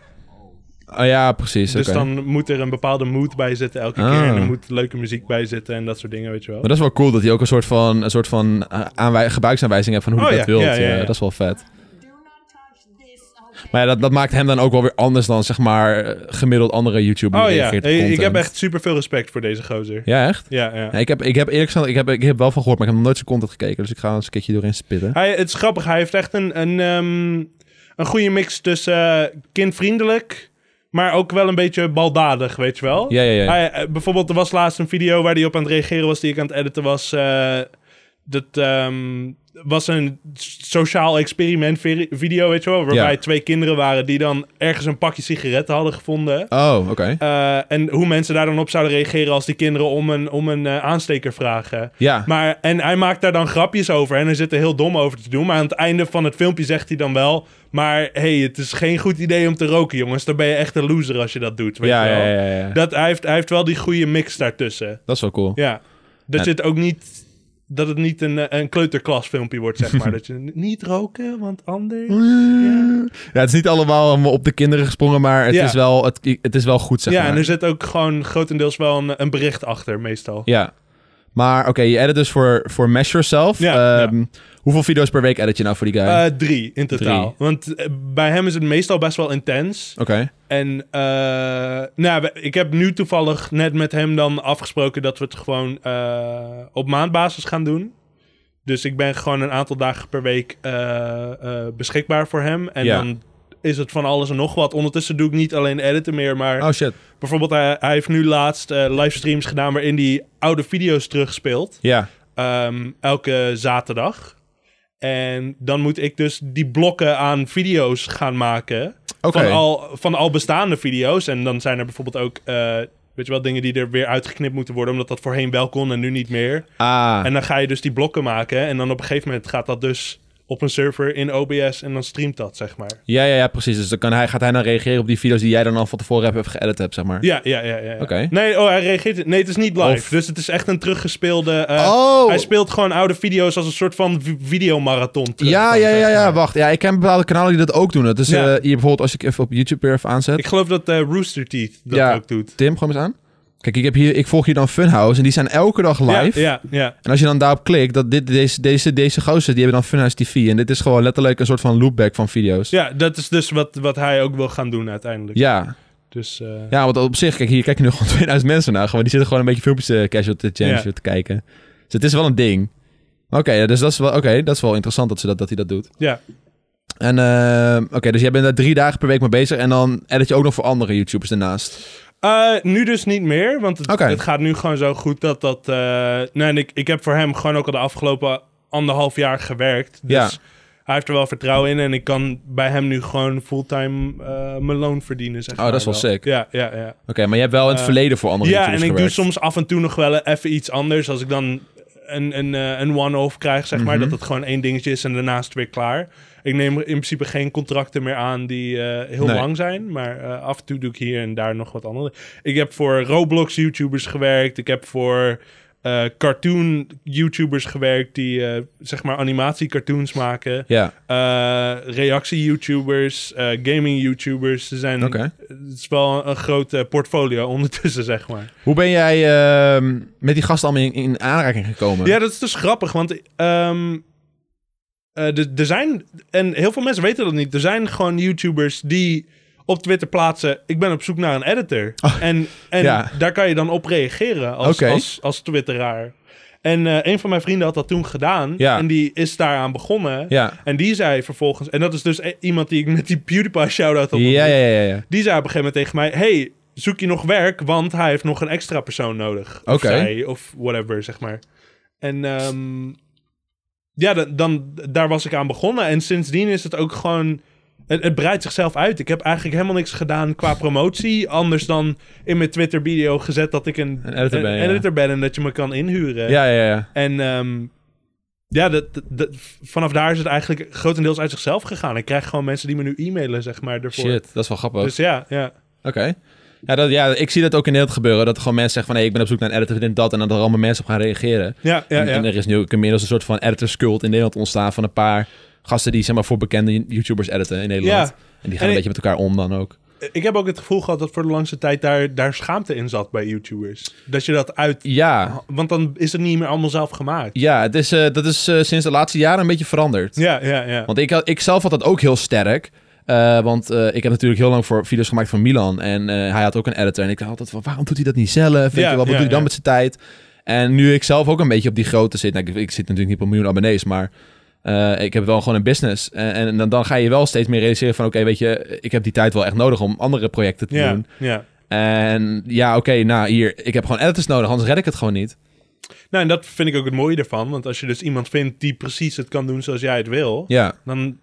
[SPEAKER 1] Oh, ja, precies.
[SPEAKER 2] Dus
[SPEAKER 1] oké.
[SPEAKER 2] dan moet er een bepaalde mood bij zitten elke
[SPEAKER 1] Ah.
[SPEAKER 2] keer. En er moet leuke muziek bij zitten en dat soort dingen, weet je wel.
[SPEAKER 1] Maar dat is wel cool dat hij ook een soort van, een soort van eh, aanwij- gebruiksaanwijzing heeft van hoe hij
[SPEAKER 2] Oh,
[SPEAKER 1] dat
[SPEAKER 2] ja,
[SPEAKER 1] wil.
[SPEAKER 2] ja, ja, ja.
[SPEAKER 1] dat is wel vet.
[SPEAKER 4] Do not touch this, okay?
[SPEAKER 1] Maar ja, dat, dat maakt hem dan ook wel weer anders dan zeg maar eh, gemiddeld andere YouTubers.
[SPEAKER 2] Oh ja, ik, ik heb echt super veel respect voor deze gozer.
[SPEAKER 1] Ja, echt?
[SPEAKER 2] Ja, ja.
[SPEAKER 1] Ja, ik, heb, ik heb eerlijk gezegd, ik heb, ik heb wel van gehoord, maar ik heb nog nooit zijn content gekeken. Dus ik ga eens een keertje doorheen spitten.
[SPEAKER 2] Hij, het is grappig, hij heeft echt een, een, ehm, een goede mix tussen eh, kindvriendelijk, maar ook wel een beetje baldadig, weet je wel.
[SPEAKER 1] Ja, ja, ja.
[SPEAKER 2] Hij, eh, bijvoorbeeld, er was laatst een video waar hij op aan het reageren was, die ik aan het editen was. eh, dat ehm, was een sociaal experiment vi- video, weet je wel, waarbij
[SPEAKER 1] Ja.
[SPEAKER 2] twee kinderen waren die dan ergens een pakje sigaretten hadden gevonden.
[SPEAKER 1] Oh, oké.
[SPEAKER 2] Eh, en hoe mensen daar dan op zouden reageren als die kinderen om een, om een eh, aansteker vragen.
[SPEAKER 1] Ja.
[SPEAKER 2] Maar, en hij maakt daar dan grapjes over en hij zit er heel dom over te doen. Maar aan het einde van het filmpje zegt hij dan wel... Maar hey, het is geen goed idee om te roken, jongens. Dan ben je echt een loser als je dat doet, weet
[SPEAKER 1] ja,
[SPEAKER 2] je wel.
[SPEAKER 1] ja, ja, ja. Dat...
[SPEAKER 2] Dat, hij, heeft, hij heeft wel die goede mix daartussen.
[SPEAKER 1] is wel cool.
[SPEAKER 2] Ja. Dat
[SPEAKER 1] Ja.
[SPEAKER 2] je het ook niet... Dat het niet een, eh, een kleuterklasfilmpje wordt, zeg maar. dat je niet roken, want anders... Ja,
[SPEAKER 1] Ja, het is niet allemaal om op de kinderen gesprongen, maar het,
[SPEAKER 2] Ja.
[SPEAKER 1] is, wel, het, het is wel goed, zeg
[SPEAKER 2] ja
[SPEAKER 1] maar.
[SPEAKER 2] en dus- er zit ook gewoon grotendeels wel een, een bericht achter, meestal.
[SPEAKER 1] Ja. Maar oké, je edit dus voor, voor Mesh Yourself.
[SPEAKER 2] Ja,
[SPEAKER 1] Ehm, Hoeveel video's per week edit je nou voor die guy?
[SPEAKER 2] Eh, drie in totaal.
[SPEAKER 1] Drie.
[SPEAKER 2] Want eh, bij hem is het meestal best wel intens.
[SPEAKER 1] Oké.
[SPEAKER 2] En eh, nou, we- ik heb nu toevallig net met hem dan afgesproken dat we het gewoon eh, op maandbasis gaan doen. Dus ik ben gewoon een aantal dagen per week eh, eh, beschikbaar voor hem. En
[SPEAKER 1] Ja.
[SPEAKER 2] dan is het van alles en nog wat. Ondertussen doe ik niet alleen editen meer, maar
[SPEAKER 1] Oh shit.
[SPEAKER 2] bijvoorbeeld hij, hij heeft nu laatst eh, livestreams gedaan waarin hij oude video's terugspeelt.
[SPEAKER 1] Ja.
[SPEAKER 2] Ehm, elke zaterdag. En dan moet ik dus die blokken aan video's gaan maken.
[SPEAKER 1] Oké.
[SPEAKER 2] Van, al, van al bestaande video's. En dan zijn er bijvoorbeeld ook. eh, Weet je wel, dingen die er weer uitgeknipt moeten worden, omdat dat voorheen wel kon en nu niet meer.
[SPEAKER 1] Ah.
[SPEAKER 2] En dan ga je dus die blokken maken en dan op een gegeven moment gaat dat dus op een server in OBS en dan streamt dat, zeg maar.
[SPEAKER 1] Ja, ja, ja, precies. Dus dan kan hij, gaat hij dan reageren op die video's die jij dan al van tevoren hebt, hebt geëdit hebt, zeg maar.
[SPEAKER 2] Ja, ja, ja. ja, ja.
[SPEAKER 1] Oké.
[SPEAKER 2] Nee, oh, hij reageert... Nee, het is niet live.
[SPEAKER 1] Of-
[SPEAKER 2] Dus het is echt een teruggespeelde... eh,
[SPEAKER 1] Oh!
[SPEAKER 2] Hij speelt gewoon oude video's als een soort van vi- videomarathon terug.
[SPEAKER 1] Ja,
[SPEAKER 2] gewoon,
[SPEAKER 1] ja,
[SPEAKER 2] zeg
[SPEAKER 1] ja, ja,
[SPEAKER 2] maar.
[SPEAKER 1] wacht. Ja, ik ken bepaalde kanalen die dat ook doen. Dat is
[SPEAKER 2] Ja.
[SPEAKER 1] eh, hier bijvoorbeeld als ik even op YouTube weer even aanzet.
[SPEAKER 2] Ik geloof dat eh, Rooster Teeth dat
[SPEAKER 1] Ja.
[SPEAKER 2] ook doet.
[SPEAKER 1] Tim, gewoon eens aan. Kijk, ik, heb hier, ik volg hier dan Funhouse en die zijn elke dag live.
[SPEAKER 2] Ja, ja, ja.
[SPEAKER 1] En als je dan daarop klikt, dat dit, deze, deze, deze gozer, die hebben dan Funhouse TV. En dit is gewoon letterlijk een soort van loopback van video's.
[SPEAKER 2] Ja, dat is dus wat, wat hij ook wil gaan doen uiteindelijk.
[SPEAKER 1] Ja,
[SPEAKER 2] Dus, eh,
[SPEAKER 1] ja, want op zich, kijk, hier kijken nu gewoon 2000 mensen naar. Gewoon, die zitten gewoon een beetje filmpjes eh, casual te change
[SPEAKER 2] Ja.
[SPEAKER 1] te kijken. Dus het is wel een ding. Oké, ja, dus dat is, wel, oké, dat is wel interessant dat, ze dat, dat hij dat doet.
[SPEAKER 2] ja.
[SPEAKER 1] En eh, oké, dus jij bent daar drie dagen per week mee bezig. En dan edit je ook nog voor andere YouTubers daarnaast.
[SPEAKER 2] Eh, nu dus niet meer, want het,
[SPEAKER 1] Oké.
[SPEAKER 2] het gaat nu gewoon zo goed dat dat... eh, nee, en ik, ik heb voor hem gewoon ook al de afgelopen anderhalf jaar gewerkt. Dus
[SPEAKER 1] Ja.
[SPEAKER 2] hij heeft er wel vertrouwen in. En ik kan bij hem nu gewoon fulltime eh, mijn loon verdienen. Zeg
[SPEAKER 1] Oh, dat is
[SPEAKER 2] maar
[SPEAKER 1] wel sick.
[SPEAKER 2] Ja, ja, ja.
[SPEAKER 1] maar je hebt wel in het
[SPEAKER 2] Eh,
[SPEAKER 1] verleden voor andere
[SPEAKER 2] Ja, en ik
[SPEAKER 1] YouTubers
[SPEAKER 2] doe
[SPEAKER 1] gewerkt.
[SPEAKER 2] soms af en toe nog wel even iets anders. Als ik dan een, een, eh, een one-off krijg, zeg maar.
[SPEAKER 1] Mhm.
[SPEAKER 2] Dat het gewoon één dingetje is en daarnaast weer klaar. Ik neem in principe geen contracten meer aan die eh, heel
[SPEAKER 1] Nee.
[SPEAKER 2] lang zijn. Maar eh, af en toe doe ik hier en daar nog wat andere. Ik heb voor Roblox-YouTubers gewerkt. Ik heb voor eh, cartoon-YouTubers gewerkt die, eh, zeg maar, animatie-cartoons maken.
[SPEAKER 1] Ja,
[SPEAKER 2] Eh, reactie-YouTubers, eh, gaming-YouTubers. Ze zijn...
[SPEAKER 1] oké.
[SPEAKER 2] Het is wel een groot eh, portfolio ondertussen, zeg maar.
[SPEAKER 1] Hoe ben jij ehm, met die gasten allemaal in, in aanraking gekomen?
[SPEAKER 2] Ja, dat is dus grappig, want ehm, eh, de- er zijn, en heel veel mensen weten dat niet, er zijn gewoon YouTubers die op Twitter plaatsen, ik ben op zoek naar een editor. en en
[SPEAKER 1] Oh, ja.
[SPEAKER 2] daar kan je dan op reageren als,
[SPEAKER 1] Oké.
[SPEAKER 2] als, als twitteraar. En eh, een van mijn vrienden had dat toen gedaan
[SPEAKER 1] Ja.
[SPEAKER 2] en die is daaraan begonnen.
[SPEAKER 1] Ja,
[SPEAKER 2] En die zei vervolgens, en dat is dus eh, iemand die ik met die PewDiePie shout-out had
[SPEAKER 1] ja, ja,
[SPEAKER 2] ontmoet.
[SPEAKER 1] ja. ja, ja.
[SPEAKER 2] Die zei op een gegeven moment tegen mij: Hey, zoek je nog werk? Want hij heeft nog een extra persoon nodig. Of
[SPEAKER 1] Oké.
[SPEAKER 2] zij, of whatever, zeg maar. En ehm, ja, dan, dan, daar was ik aan begonnen. En sindsdien is het ook gewoon. Het, het breidt zichzelf uit. Ik heb eigenlijk helemaal niks gedaan qua promotie. Anders dan in mijn Twitter-video gezet dat ik een,
[SPEAKER 1] Een editor ben, ja.
[SPEAKER 2] editor ben en dat je me kan inhuren.
[SPEAKER 1] Ja, ja, ja.
[SPEAKER 2] En ehm, ja, dat, dat- dat- vanaf daar is het eigenlijk grotendeels uit zichzelf gegaan. Ik krijg gewoon mensen die me nu e-mailen, zeg maar, ervoor.
[SPEAKER 1] Shit, dat is wel grappig.
[SPEAKER 2] Dus ja, ja.
[SPEAKER 1] Oké. Ja, dat, ja, ik zie dat ook in Nederland gebeuren. Dat er gewoon mensen zeggen van... Hey, ik ben op zoek naar een editor, dit en dat. En dat er allemaal mensen op gaan reageren.
[SPEAKER 2] Ja, ja,
[SPEAKER 1] en,
[SPEAKER 2] ja.
[SPEAKER 1] en er is nu ook inmiddels een soort van editorscult in Nederland ontstaan... van een paar gasten die zeg maar voor bekende YouTubers editen in Nederland.
[SPEAKER 2] Ja.
[SPEAKER 1] En die gaan
[SPEAKER 2] En
[SPEAKER 1] een
[SPEAKER 2] ik-
[SPEAKER 1] beetje met elkaar om dan ook.
[SPEAKER 2] Ik heb ook het gevoel gehad dat voor de langste tijd daar, daar schaamte in zat bij YouTubers. Dat je dat uit...
[SPEAKER 1] Ja,
[SPEAKER 2] Want dan is het niet meer allemaal zelf gemaakt.
[SPEAKER 1] ja het is, eh, dat is eh, sinds de laatste jaren een beetje veranderd.
[SPEAKER 2] Ja, ja, ja.
[SPEAKER 1] Want ik, had- ik zelf had dat ook heel sterk. Eh, want eh, ik heb natuurlijk heel lang voor video's gemaakt van Milan. En eh, hij had ook een editor. En ik dacht altijd van, waarom doet hij dat niet zelf? Weet
[SPEAKER 2] Ja,
[SPEAKER 1] je wel, wat
[SPEAKER 2] ja,
[SPEAKER 1] doet hij dan
[SPEAKER 2] ja.
[SPEAKER 1] met zijn tijd? En nu ik zelf ook een beetje op die grootte zit. Nou, ik, ik zit natuurlijk niet op een miljoen abonnees, maar... eh, ik heb wel gewoon een business. En, en dan, dan ga je wel steeds meer realiseren van... Oké, weet je, ik heb die tijd wel echt nodig om andere projecten te
[SPEAKER 2] ja,
[SPEAKER 1] doen.
[SPEAKER 2] ja.
[SPEAKER 1] En ja, oké, nou hier, ik heb gewoon editors nodig. Anders red ik het gewoon niet.
[SPEAKER 2] Nou, en dat vind ik ook het mooie ervan. Want als je dus iemand vindt die precies het kan doen zoals jij het wil...
[SPEAKER 1] Ja,
[SPEAKER 2] dan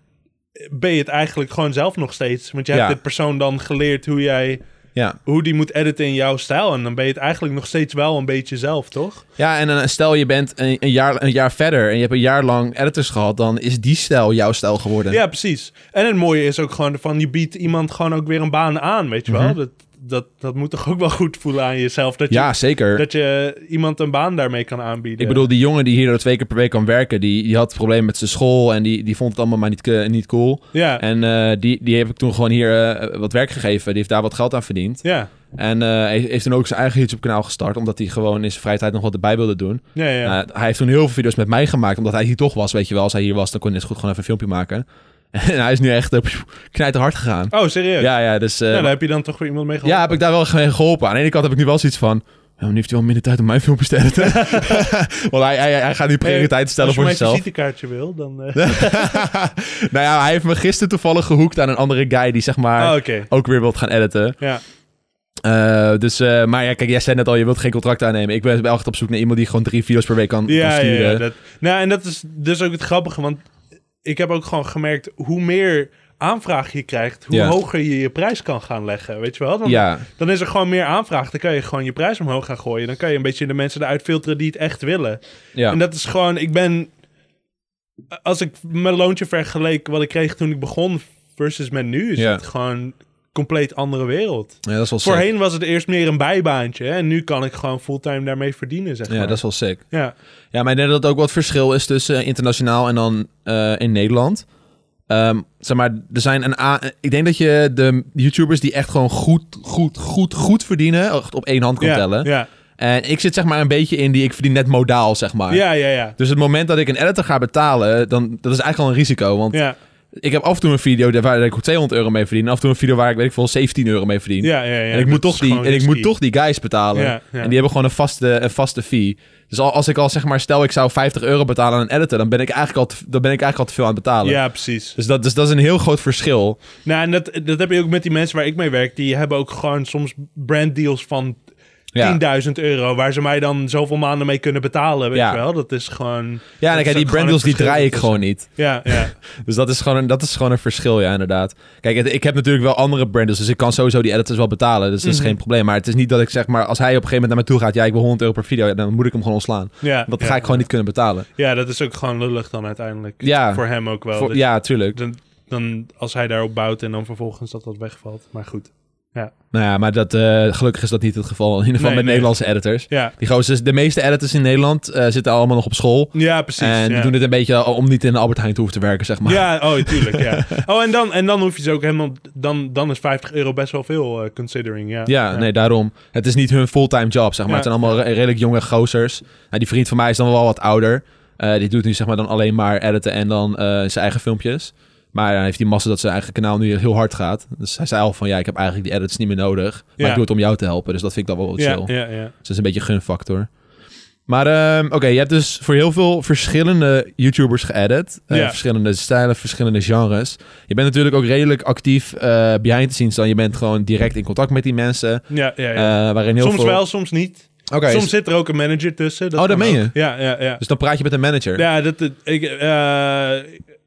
[SPEAKER 2] ben je het eigenlijk gewoon zelf nog steeds. Want je
[SPEAKER 1] Ja.
[SPEAKER 2] hebt dit persoon dan geleerd hoe jij...
[SPEAKER 1] ja.
[SPEAKER 2] hoe die moet editen in jouw stijl. En dan ben je het eigenlijk nog steeds wel een beetje zelf, toch?
[SPEAKER 1] Ja, en eh, stel je bent een, een, jaar, een jaar verder en je hebt een jaar lang editors gehad, dan is die stijl jouw stijl geworden.
[SPEAKER 2] Ja, precies. En het mooie is ook gewoon van je biedt iemand gewoon ook weer een baan aan, weet je wel.
[SPEAKER 1] Mhm.
[SPEAKER 2] dat, dat, dat moet toch ook wel goed voelen aan jezelf. Dat je,
[SPEAKER 1] Ja, zeker.
[SPEAKER 2] dat je iemand een baan daarmee kan aanbieden.
[SPEAKER 1] Ik bedoel, die jongen die hier twee keer per week kan werken, die, die had problemen met zijn school en die, die vond het allemaal maar niet, ke- niet cool.
[SPEAKER 2] Ja,
[SPEAKER 1] En eh, die, die heb ik toen gewoon hier eh, wat werk gegeven. Die heeft daar wat geld aan verdiend.
[SPEAKER 2] ja,
[SPEAKER 1] En eh, hij heeft toen ook zijn eigen YouTube-kanaal gestart, omdat hij gewoon in zijn vrije tijd nog wat erbij wilde doen.
[SPEAKER 2] ja, ja.
[SPEAKER 1] Eh, hij heeft toen heel veel video's met mij gemaakt, omdat hij hier toch was. Weet je wel, als hij hier was, dan kon hij net zo goed gewoon even een filmpje maken. En hij is nu echt uh, knijterhard gegaan.
[SPEAKER 2] oh, serieus?
[SPEAKER 1] Ja, ja, dus... eh,
[SPEAKER 2] nou, daar heb je dan toch weer iemand mee
[SPEAKER 1] Ja,
[SPEAKER 2] geholpen.
[SPEAKER 1] heb ik daar wel mee geholpen. Aan de ene kant heb ik nu wel zoiets van... "Ja, maar nu heeft hij wel minder tijd om mijn filmpjes te editen. Want hij, hij, hij gaat nu prioriteit stellen
[SPEAKER 2] Als
[SPEAKER 1] voor
[SPEAKER 2] je mijn
[SPEAKER 1] zichzelf.
[SPEAKER 2] visitekaartje wil, dan... eh,
[SPEAKER 1] nou ja, hij heeft me gisteren toevallig gehoekt aan een andere guy... die zeg maar
[SPEAKER 2] oh, oké.
[SPEAKER 1] ook weer wilt gaan editen.
[SPEAKER 2] Ja,
[SPEAKER 1] Eh, dus, eh, maar ja, kijk, jij zei net al, je wilt geen contract aannemen. Ik ben wel echt op zoek naar iemand die gewoon drie video's per week kan, kan
[SPEAKER 2] ja, ja,
[SPEAKER 1] sturen.
[SPEAKER 2] ja, dat, nou, en dat is dus ook het grappige, want ik heb ook gewoon gemerkt hoe meer aanvraag je krijgt, hoe
[SPEAKER 1] Ja.
[SPEAKER 2] hoger je je prijs kan gaan leggen, weet je wel? Dan,
[SPEAKER 1] Ja,
[SPEAKER 2] Dan is er gewoon meer aanvraag. Dan kan je gewoon je prijs omhoog gaan gooien. Dan kan je een beetje de mensen eruit filteren die het echt willen.
[SPEAKER 1] ja.
[SPEAKER 2] En dat is gewoon, ik ben. Als ik mijn loontje vergeleek wat ik kreeg toen ik begon versus met nu, is
[SPEAKER 1] Ja.
[SPEAKER 2] het gewoon een compleet andere wereld.
[SPEAKER 1] Ja, dat is wel sick.
[SPEAKER 2] Voorheen was het eerst meer een bijbaantje. hè, En nu kan ik gewoon fulltime daarmee verdienen, zeg
[SPEAKER 1] Ja,
[SPEAKER 2] maar.
[SPEAKER 1] dat is wel sick.
[SPEAKER 2] ja.
[SPEAKER 1] Ja, maar ik denk dat het ook wat verschil is tussen eh, internationaal en dan eh, in Nederland. Ehm, zeg maar, er zijn een a- eh, Ik denk dat je de YouTubers die echt gewoon goed, goed, goed, goed verdienen, oh, echt op één hand kan
[SPEAKER 2] ja,
[SPEAKER 1] tellen.
[SPEAKER 2] Ja,
[SPEAKER 1] En ik zit zeg maar een beetje in die, ik verdien net modaal, zeg maar.
[SPEAKER 2] ja, ja. ja.
[SPEAKER 1] Dus het moment dat ik een editor ga betalen, dan, dat is eigenlijk al een risico. Want
[SPEAKER 2] Ja,
[SPEAKER 1] ik heb af en toe een video daar- waar ik 200 euro mee verdien. En af en toe een video waar ik, weet ik veel, 17 euro mee verdien.
[SPEAKER 2] ja, ja, ja.
[SPEAKER 1] en ik, moet toch, die, en ik moet toch die guys betalen.
[SPEAKER 2] Ja, ja.
[SPEAKER 1] En die hebben gewoon een vaste, een vaste fee. Dus al, als ik al zeg maar, stel ik zou 50 euro betalen aan een editor, dan ben ik eigenlijk al te, dan ben ik eigenlijk al te veel aan het betalen.
[SPEAKER 2] Ja, precies.
[SPEAKER 1] Dus, dat, dus dat is een heel groot verschil.
[SPEAKER 2] Nou, en dat, dat heb je ook met die mensen waar ik mee werk. Die hebben ook gewoon soms branddeals van
[SPEAKER 1] Ja.
[SPEAKER 2] 10.000 euro, waar ze mij dan zoveel maanden mee kunnen betalen, weet
[SPEAKER 1] Ja.
[SPEAKER 2] je wel? Dat is gewoon...
[SPEAKER 1] Ja, en
[SPEAKER 2] dat
[SPEAKER 1] kijk,
[SPEAKER 2] is
[SPEAKER 1] die
[SPEAKER 2] ook gewoon
[SPEAKER 1] brand deals die
[SPEAKER 2] het verschil
[SPEAKER 1] draai ik
[SPEAKER 2] tussen-
[SPEAKER 1] gewoon niet.
[SPEAKER 2] Ja, ja.
[SPEAKER 1] Dus dat is gewoon een, dat is gewoon een verschil, ja, inderdaad. Kijk, het- ik heb natuurlijk wel andere brand deals, dus ik kan sowieso die editors wel betalen. Dus dat is
[SPEAKER 2] Mhm.
[SPEAKER 1] geen probleem. Maar het is niet dat ik zeg maar, als hij op een gegeven moment naar me toe gaat, ja, ik wil 100 euro per video, ja, dan moet ik hem gewoon ontslaan.
[SPEAKER 2] ja
[SPEAKER 1] Dat
[SPEAKER 2] ja.
[SPEAKER 1] ga ik gewoon niet kunnen betalen.
[SPEAKER 2] Ja, dat is ook gewoon lullig dan uiteindelijk.
[SPEAKER 1] Ja.
[SPEAKER 2] Voor hem ook wel.
[SPEAKER 1] Voor-
[SPEAKER 2] Dus
[SPEAKER 1] ja, tuurlijk.
[SPEAKER 2] dan, dan als hij daarop bouwt en dan vervolgens dat dat wegvalt. Maar goed.
[SPEAKER 1] Nou ja, maar dat, eh, gelukkig is dat niet het geval. In ieder geval
[SPEAKER 2] Nee,
[SPEAKER 1] met
[SPEAKER 2] nee.
[SPEAKER 1] Nederlandse editors.
[SPEAKER 2] Ja,
[SPEAKER 1] Die gozers, de meeste editors in Nederland eh, zitten allemaal nog op school.
[SPEAKER 2] ja precies.
[SPEAKER 1] en die
[SPEAKER 2] ja.
[SPEAKER 1] doen dit een beetje om niet in de Albert Heijn te hoeven te werken, zeg maar.
[SPEAKER 2] Ja, oh, tuurlijk, ja. Oh, en dan, en dan hoef je ze ook helemaal... Dan, dan is 50 euro best wel veel, eh, considering, ja.
[SPEAKER 1] Ja, nee, daarom. Het is niet hun fulltime job, zeg maar.
[SPEAKER 2] Ja.
[SPEAKER 1] Het zijn allemaal re- redelijk jonge gozers. Nou, die vriend van mij is dan wel wat ouder. Eh, die doet nu zeg maar dan alleen maar editen en dan eh, zijn eigen filmpjes. Maar dan heeft die massa dat zijn eigen kanaal nu heel hard gaat. Dus hij zei al van, ja, ik heb eigenlijk die edits niet meer nodig. Maar
[SPEAKER 2] Ja.
[SPEAKER 1] ik doe het om jou te helpen. Dus dat vind ik dan wel wat chill.
[SPEAKER 2] ja, ja, ja.
[SPEAKER 1] Dus dat is een beetje een gunfactor. Maar ehm, oké, je hebt dus voor heel veel verschillende YouTubers geëdit. Eh,
[SPEAKER 2] Ja.
[SPEAKER 1] Verschillende stijlen, verschillende genres. Je bent natuurlijk ook redelijk actief eh, behind the scenes dan. Je bent gewoon direct in contact met die mensen.
[SPEAKER 2] ja, ja, ja.
[SPEAKER 1] eh, waarin heel
[SPEAKER 2] soms
[SPEAKER 1] veel...
[SPEAKER 2] wel, soms niet.
[SPEAKER 1] Oké,
[SPEAKER 2] soms
[SPEAKER 1] dus-
[SPEAKER 2] zit er ook een manager tussen.
[SPEAKER 1] Oh, dat
[SPEAKER 2] kan
[SPEAKER 1] meen
[SPEAKER 2] ook. Ja, ja, ja.
[SPEAKER 1] dus dan praat je met een manager.
[SPEAKER 2] Ja, dat, dat- ik, eh,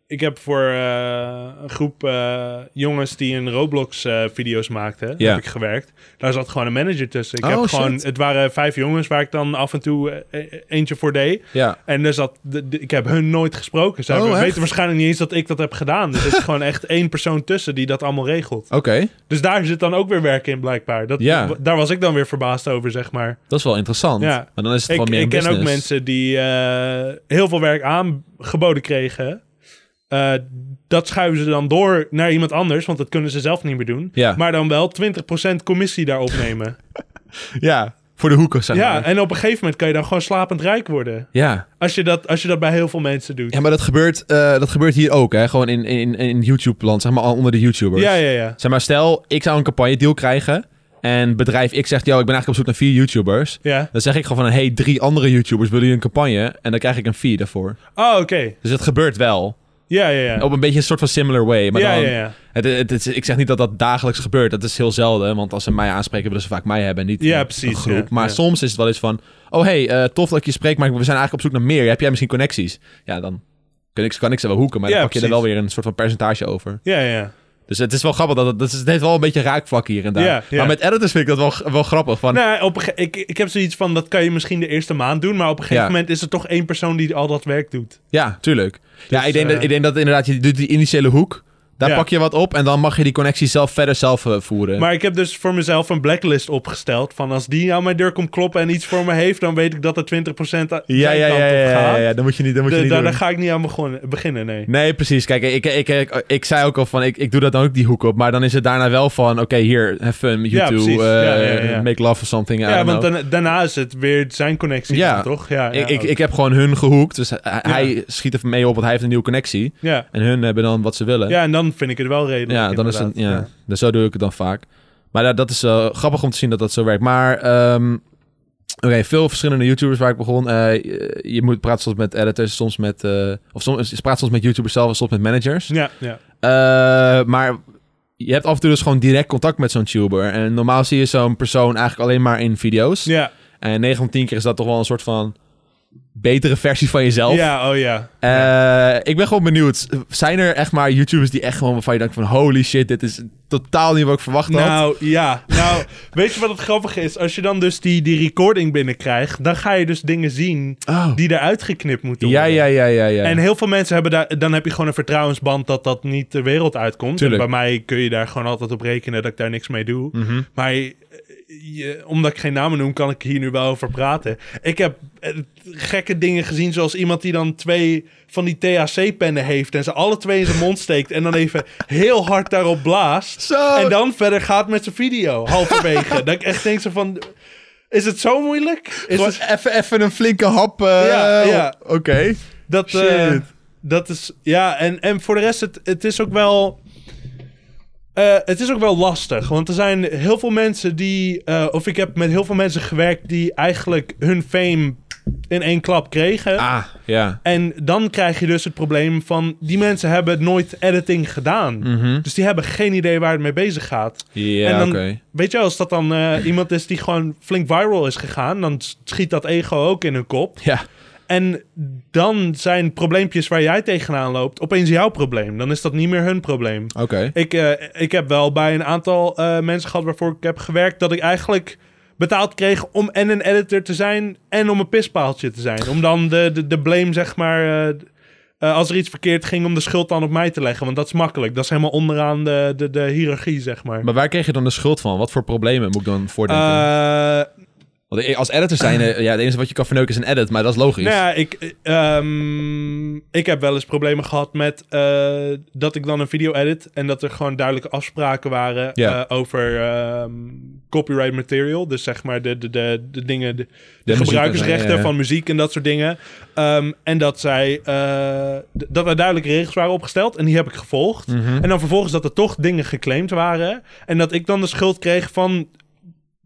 [SPEAKER 2] ik heb voor eh, een groep eh, jongens die een Roblox-video's maakten,
[SPEAKER 1] Ja.
[SPEAKER 2] heb ik gewerkt. Daar zat gewoon een manager tussen. Ik
[SPEAKER 1] Oh,
[SPEAKER 2] heb
[SPEAKER 1] shit.
[SPEAKER 2] gewoon, het waren vijf jongens waar ik dan af en toe eh, eh, eentje voor deed.
[SPEAKER 1] Ja.
[SPEAKER 2] En er zat, de- de- ik heb hun nooit gesproken. Ze
[SPEAKER 1] Oh,
[SPEAKER 2] hebben-
[SPEAKER 1] echt?
[SPEAKER 2] weten waarschijnlijk niet eens dat ik dat heb gedaan. Dus er is gewoon echt één persoon tussen die dat allemaal regelt.
[SPEAKER 1] Oké,
[SPEAKER 2] Dus daar zit dan ook weer werk in, blijkbaar. Dat,
[SPEAKER 1] Ja.
[SPEAKER 2] w- Daar was ik dan weer verbaasd over, zeg maar.
[SPEAKER 1] dat is wel interessant.
[SPEAKER 2] Ja.
[SPEAKER 1] Maar dan is het
[SPEAKER 2] Ik,
[SPEAKER 1] gewoon meer
[SPEAKER 2] ik ken ook
[SPEAKER 1] business.
[SPEAKER 2] mensen die eh, heel veel werk aangeboden kregen. Eh, dat schuiven ze dan door naar iemand anders, want dat kunnen ze zelf niet meer doen.
[SPEAKER 1] Ja.
[SPEAKER 2] Maar dan wel 20% commissie daarop nemen.
[SPEAKER 1] Ja, voor de hoeken, zeg
[SPEAKER 2] ja,
[SPEAKER 1] maar.
[SPEAKER 2] en op een gegeven moment kan je dan gewoon slapend rijk worden.
[SPEAKER 1] Ja.
[SPEAKER 2] Als je dat, als je dat bij heel veel mensen doet.
[SPEAKER 1] ja, maar dat gebeurt, eh, dat gebeurt hier ook, hè. Gewoon in, in, in YouTube-land, zeg maar, onder de YouTubers.
[SPEAKER 2] Ja, ja, ja.
[SPEAKER 1] Zeg maar, stel, ik zou een campagne deal krijgen. En bedrijf X zegt, yo, ik ben eigenlijk op zoek naar vier YouTubers.
[SPEAKER 2] ja.
[SPEAKER 1] Dan zeg ik gewoon van, hey, drie andere YouTubers, willen jullie een campagne? En dan krijg ik een fee daarvoor.
[SPEAKER 2] Oh, oké.
[SPEAKER 1] Dus het gebeurt wel.
[SPEAKER 2] Ja, ja, ja.
[SPEAKER 1] Op een beetje een soort van similar way. Maar
[SPEAKER 2] ja,
[SPEAKER 1] dan,
[SPEAKER 2] ja, ja.
[SPEAKER 1] Het, het, het is- ik zeg niet dat dat dagelijks gebeurt. Dat is heel zelden. Want als ze mij aanspreken, willen ze vaak mij hebben en niet
[SPEAKER 2] Ja,
[SPEAKER 1] een-
[SPEAKER 2] precies,
[SPEAKER 1] een groep.
[SPEAKER 2] ja,
[SPEAKER 1] maar
[SPEAKER 2] ja.
[SPEAKER 1] soms is het wel eens van, oh, hey, eh, tof dat ik je spreekt, maar we zijn eigenlijk op zoek naar meer. Heb jij misschien connecties? Ja, dan kan ik, kan ik ze wel hoeken, maar
[SPEAKER 2] Ja,
[SPEAKER 1] dan pak je er
[SPEAKER 2] precies.
[SPEAKER 1] wel weer een soort van percentage over.
[SPEAKER 2] Ja, ja.
[SPEAKER 1] Dus het is wel grappig. Dat het, dat is, het heeft wel een beetje raakvlak hier en daar.
[SPEAKER 2] Ja, ja.
[SPEAKER 1] Maar met editors vind ik dat wel, wel grappig. Van,
[SPEAKER 2] Nou, op een ge- ik, ik heb zoiets van, dat kan je misschien de eerste maand doen, maar op een gegeven
[SPEAKER 1] Ja.
[SPEAKER 2] moment is er toch één persoon die al dat werk doet.
[SPEAKER 1] Ja, tuurlijk. ja, ik denk,
[SPEAKER 2] eh,
[SPEAKER 1] dat, ik denk dat inderdaad, je doet die initiële hoek. Daar
[SPEAKER 2] Ja.
[SPEAKER 1] pak je wat op en dan mag je die connectie zelf verder zelf eh, voeren.
[SPEAKER 2] Maar ik heb dus voor mezelf een blacklist opgesteld. Van als die aan mijn deur komt kloppen en iets voor me heeft, dan weet ik dat er 20% zijn
[SPEAKER 1] ja, ja, ja,
[SPEAKER 2] kant
[SPEAKER 1] ja,
[SPEAKER 2] op
[SPEAKER 1] ja, ja,
[SPEAKER 2] gaat.
[SPEAKER 1] ja, dan moet je niet, dan moet je
[SPEAKER 2] De-
[SPEAKER 1] niet
[SPEAKER 2] daar,
[SPEAKER 1] doen.
[SPEAKER 2] daar ga ik niet aan begonnen, beginnen, nee.
[SPEAKER 1] Nee, precies. Kijk, ik, ik, ik, ik zei ook al van, ik, ik doe dat dan ook die hoek op. Maar dan is het daarna wel van, oké, hier, have fun, you
[SPEAKER 2] Ja,
[SPEAKER 1] too,
[SPEAKER 2] precies.
[SPEAKER 1] eh,
[SPEAKER 2] Ja, ja, ja.
[SPEAKER 1] make love of something. I
[SPEAKER 2] ja,
[SPEAKER 1] don't
[SPEAKER 2] want
[SPEAKER 1] know.
[SPEAKER 2] dan- daarna is het weer zijn connectie,
[SPEAKER 1] Ja.
[SPEAKER 2] dan, toch? Ja, ja,
[SPEAKER 1] ik, ik,
[SPEAKER 2] ook.
[SPEAKER 1] ik heb gewoon hun gehoekt. Dus hij, hij schiet er mee op, want hij heeft een nieuwe connectie.
[SPEAKER 2] ja.
[SPEAKER 1] En hun hebben dan wat ze willen.
[SPEAKER 2] ja, en dan vind ik het wel redelijk.
[SPEAKER 1] Ja, dan is het, ja.
[SPEAKER 2] inderdaad.
[SPEAKER 1] Dus zo doe ik het dan vaak. Maar dat, dat is eh, grappig om te zien dat dat zo werkt. Maar, ehm, oké, veel verschillende YouTubers waar ik begon. Eh, je, je moet praten soms met editors, soms met... eh, of soms, je praat soms met YouTubers zelf en soms met managers.
[SPEAKER 2] Ja, ja.
[SPEAKER 1] Eh, maar je hebt af en toe dus gewoon direct contact met zo'n tuber. En normaal zie je zo'n persoon eigenlijk alleen maar in video's.
[SPEAKER 2] Ja,
[SPEAKER 1] En 9 van 10 keer is dat toch wel een soort van betere versie van jezelf.
[SPEAKER 2] ja, oh ja.
[SPEAKER 1] Eh, ik ben gewoon benieuwd. Zijn er echt maar YouTubers die echt gewoon waarvan je denkt van... Holy shit, dit is totaal niet wat ik verwacht had.
[SPEAKER 2] Nou, ja. Nou, weet je wat het grappige is? Als je dan dus die, die recording binnenkrijgt, dan ga je dus dingen zien
[SPEAKER 1] Oh.
[SPEAKER 2] die eruit geknipt moeten
[SPEAKER 1] Ja,
[SPEAKER 2] worden.
[SPEAKER 1] ja, ja, ja, ja.
[SPEAKER 2] En heel veel mensen hebben daar, dan heb je gewoon een vertrouwensband dat dat niet de wereld uitkomt. En
[SPEAKER 1] Tuurlijk.
[SPEAKER 2] bij mij kun je daar gewoon altijd op rekenen dat ik daar niks mee doe.
[SPEAKER 1] Mhm.
[SPEAKER 2] Maar eh, je- omdat ik geen namen noem, kan ik hier nu wel over praten. Ik heb eh, gekke dingen gezien, zoals iemand die dan twee van die THC-pennen heeft en ze alle twee in zijn mond steekt en dan even heel hard daarop blaast.
[SPEAKER 1] Zo.
[SPEAKER 2] En dan verder gaat met zijn video, halverwege. dat ik echt denk zo van, is het zo moeilijk? Is
[SPEAKER 1] Gewoon
[SPEAKER 2] het-
[SPEAKER 1] even, even een flinke hap. eh,
[SPEAKER 2] Ja, ja.
[SPEAKER 1] Oké.
[SPEAKER 2] Dat,
[SPEAKER 1] Shit.
[SPEAKER 2] eh, dat is. Ja, en, en voor de rest, het, het is ook wel. eh, het is ook wel lastig, want er zijn heel veel mensen die. eh, of ik heb met heel veel mensen gewerkt die eigenlijk hun fame in één klap kregen.
[SPEAKER 1] Ah, ja.
[SPEAKER 2] En dan krijg je dus het probleem van... die mensen hebben nooit editing gedaan.
[SPEAKER 1] Mhm.
[SPEAKER 2] Dus die hebben geen idee waar het mee bezig gaat. En
[SPEAKER 1] Ja,
[SPEAKER 2] dan-
[SPEAKER 1] oké.
[SPEAKER 2] Weet je, als dat dan eh, iemand is die gewoon flink viral is gegaan... dan s- schiet dat ego ook in hun kop.
[SPEAKER 1] Ja.
[SPEAKER 2] En dan zijn probleempjes waar jij tegenaan loopt... opeens jouw probleem. Dan is dat niet meer hun probleem.
[SPEAKER 1] Oké.
[SPEAKER 2] Ik, eh, ik heb wel bij een aantal eh, mensen gehad waarvoor ik heb gewerkt... dat ik eigenlijk betaald kreeg om en een editor te zijn... en om een pispaaltje te zijn. Om dan de, de, de blame, zeg maar... eh, eh, als er iets verkeerd ging, om de schuld dan op mij te leggen. Want dat is makkelijk. Dat is helemaal onderaan de, de, de hiërarchie, zeg maar.
[SPEAKER 1] Maar waar kreeg je dan de schuld van? Wat voor problemen moet ik dan voordenken?
[SPEAKER 2] Eh,
[SPEAKER 1] Want als editor zijn, eh, ja, het enige wat je kan verneuken is een edit, maar dat is logisch.
[SPEAKER 2] Nou ja, ik, eh, ehm, ik heb wel eens problemen gehad met eh, dat ik dan een video edit en dat er gewoon duidelijke afspraken waren
[SPEAKER 1] Ja.
[SPEAKER 2] eh, over ehm, copyright material. Dus zeg maar de, de, de, de dingen, de, de
[SPEAKER 1] muziek-
[SPEAKER 2] gebruikersrechten
[SPEAKER 1] ja, ja.
[SPEAKER 2] van muziek en dat soort dingen. Ehm, en dat zij eh, d- dat er duidelijke regels waren opgesteld en die heb ik gevolgd.
[SPEAKER 1] Mhm.
[SPEAKER 2] En dan vervolgens dat er toch dingen geclaimd waren en dat ik dan de schuld kreeg van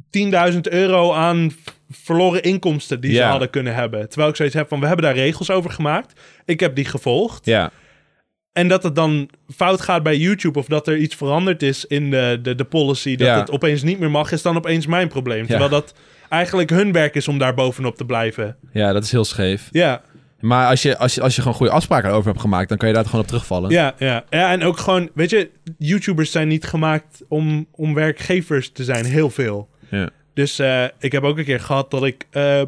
[SPEAKER 2] 10.000 euro aan v- verloren inkomsten die ze
[SPEAKER 1] Ja.
[SPEAKER 2] hadden kunnen hebben. Terwijl ik zoiets heb van, we hebben daar regels over gemaakt. Ik heb die gevolgd.
[SPEAKER 1] Ja.
[SPEAKER 2] En dat het dan fout gaat bij YouTube of dat er iets veranderd is in de, de, de policy... dat
[SPEAKER 1] Ja.
[SPEAKER 2] het opeens niet meer mag, is dan opeens mijn probleem. Terwijl dat eigenlijk hun werk is om daar bovenop te blijven.
[SPEAKER 1] ja, dat is heel scheef.
[SPEAKER 2] Ja,
[SPEAKER 1] Maar als je, als, je, als je gewoon goede afspraken over hebt gemaakt, dan kan je daar gewoon op terugvallen.
[SPEAKER 2] ja, ja. ja en ook gewoon, weet je, YouTubers zijn niet gemaakt om, om werkgevers te zijn, heel veel.
[SPEAKER 1] Ja.
[SPEAKER 2] Dus eh, ik heb ook een keer gehad dat ik eh,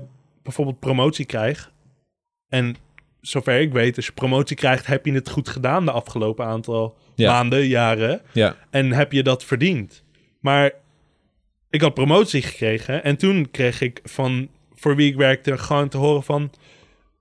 [SPEAKER 2] bijvoorbeeld promotie krijg. En zover ik weet, als je promotie krijgt, heb je het goed gedaan de afgelopen aantal
[SPEAKER 1] Ja.
[SPEAKER 2] maanden, jaren.
[SPEAKER 1] Ja.
[SPEAKER 2] En heb je dat verdiend. Maar ik had promotie gekregen. En toen kreeg ik van voor wie ik werkte gewoon te horen van...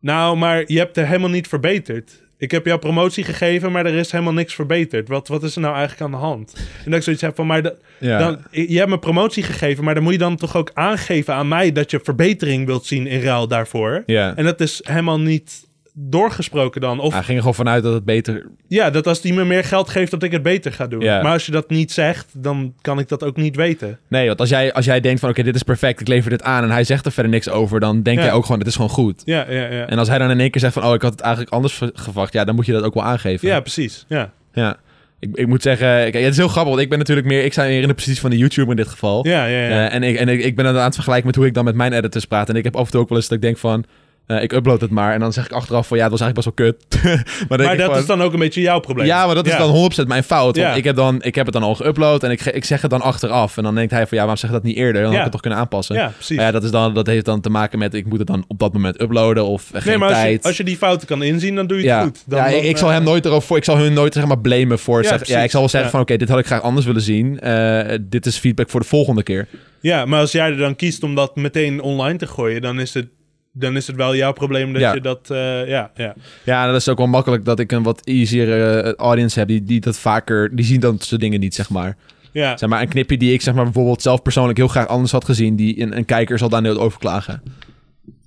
[SPEAKER 2] Nou, maar je hebt er helemaal niet verbeterd. Ik heb jou promotie gegeven, maar er is helemaal niks verbeterd. Wat, wat is er nou eigenlijk aan de hand? En dat ik zoiets heb van, maar dat,
[SPEAKER 1] Ja.
[SPEAKER 2] dan, je hebt me promotie gegeven, maar dan moet je dan toch ook aangeven aan mij dat je verbetering wilt zien in ruil daarvoor.
[SPEAKER 1] Ja.
[SPEAKER 2] En dat is helemaal niet doorgesproken dan. Of
[SPEAKER 1] Hij ging er Ah, gewoon vanuit dat het beter...
[SPEAKER 2] ja, dat als die me meer geld geeft, dat ik het beter ga doen.
[SPEAKER 1] Ja.
[SPEAKER 2] Maar als je dat niet zegt, dan kan ik dat ook niet weten.
[SPEAKER 1] Nee, want als jij, als jij denkt van, oké, dit is perfect, ik lever dit aan... en hij zegt er verder niks over, dan denk
[SPEAKER 2] Ja.
[SPEAKER 1] jij ook gewoon, dit is gewoon goed.
[SPEAKER 2] Ja, ja, ja.
[SPEAKER 1] En als hij dan in één keer zegt van, oh, ik had het eigenlijk anders ver- gewacht... ja, dan moet je dat ook wel aangeven.
[SPEAKER 2] Ja, precies. Ja,
[SPEAKER 1] Ja. Ik, ik moet zeggen, ik- het is heel grappig, want ik ben natuurlijk meer... ik sta meer in de positie van de YouTuber in dit geval.
[SPEAKER 2] ja, ja. ja.
[SPEAKER 1] Eh, en ik, en ik, ik ben aan het vergelijken met hoe ik dan met mijn editors praat. En ik heb af en toe ook wel eens dat ik denk van... eh, ik upload het maar. En dan zeg ik achteraf van... Ja, het was eigenlijk best wel kut. maar dan denk
[SPEAKER 2] maar
[SPEAKER 1] ik
[SPEAKER 2] dat
[SPEAKER 1] gewoon,
[SPEAKER 2] is dan ook een beetje jouw probleem.
[SPEAKER 1] Ja, maar dat is dan 100% mijn fout. Want
[SPEAKER 2] Ja.
[SPEAKER 1] ik, heb dan, ik heb het dan al geüpload. En ik, ge- ik zeg het dan achteraf. En dan denkt hij van... Ja, waarom zeg je dat niet eerder? Dan had
[SPEAKER 2] Ja.
[SPEAKER 1] ik het toch kunnen aanpassen.
[SPEAKER 2] Ja, precies.
[SPEAKER 1] Maar ja, dat, is dan, dat heeft dan te maken met... Ik moet het dan op dat moment uploaden. Of eh, geen
[SPEAKER 2] nee, maar als
[SPEAKER 1] tijd.
[SPEAKER 2] je, als je die fouten kan inzien, dan doe je het
[SPEAKER 1] ja,
[SPEAKER 2] goed. Dan,
[SPEAKER 1] ja ik,
[SPEAKER 2] dan,
[SPEAKER 1] ik zal
[SPEAKER 2] eh,
[SPEAKER 1] hem nooit erover voor. Ik zal hun nooit zeg maar blamen voor.
[SPEAKER 2] Ja,
[SPEAKER 1] zeg- ja, ik
[SPEAKER 2] precies.
[SPEAKER 1] zal wel zeggen
[SPEAKER 2] Ja.
[SPEAKER 1] van oké, dit had ik graag anders willen zien. Eh, dit is feedback voor de volgende keer.
[SPEAKER 2] Ja, maar als jij er dan kiest om dat meteen online te gooien, dan is het, dan is het wel jouw probleem dat
[SPEAKER 1] Ja.
[SPEAKER 2] je dat. eh, ja, ja.
[SPEAKER 1] Ja, dat is ook wel makkelijk dat ik een wat easier eh, audience heb. Die, die dat vaker, die zien dat soort dingen niet, zeg maar.
[SPEAKER 2] ja.
[SPEAKER 1] Zeg maar, een knipje die ik zeg maar bijvoorbeeld zelf persoonlijk heel graag anders had gezien. Die een, een kijker zal daar nooit over klagen.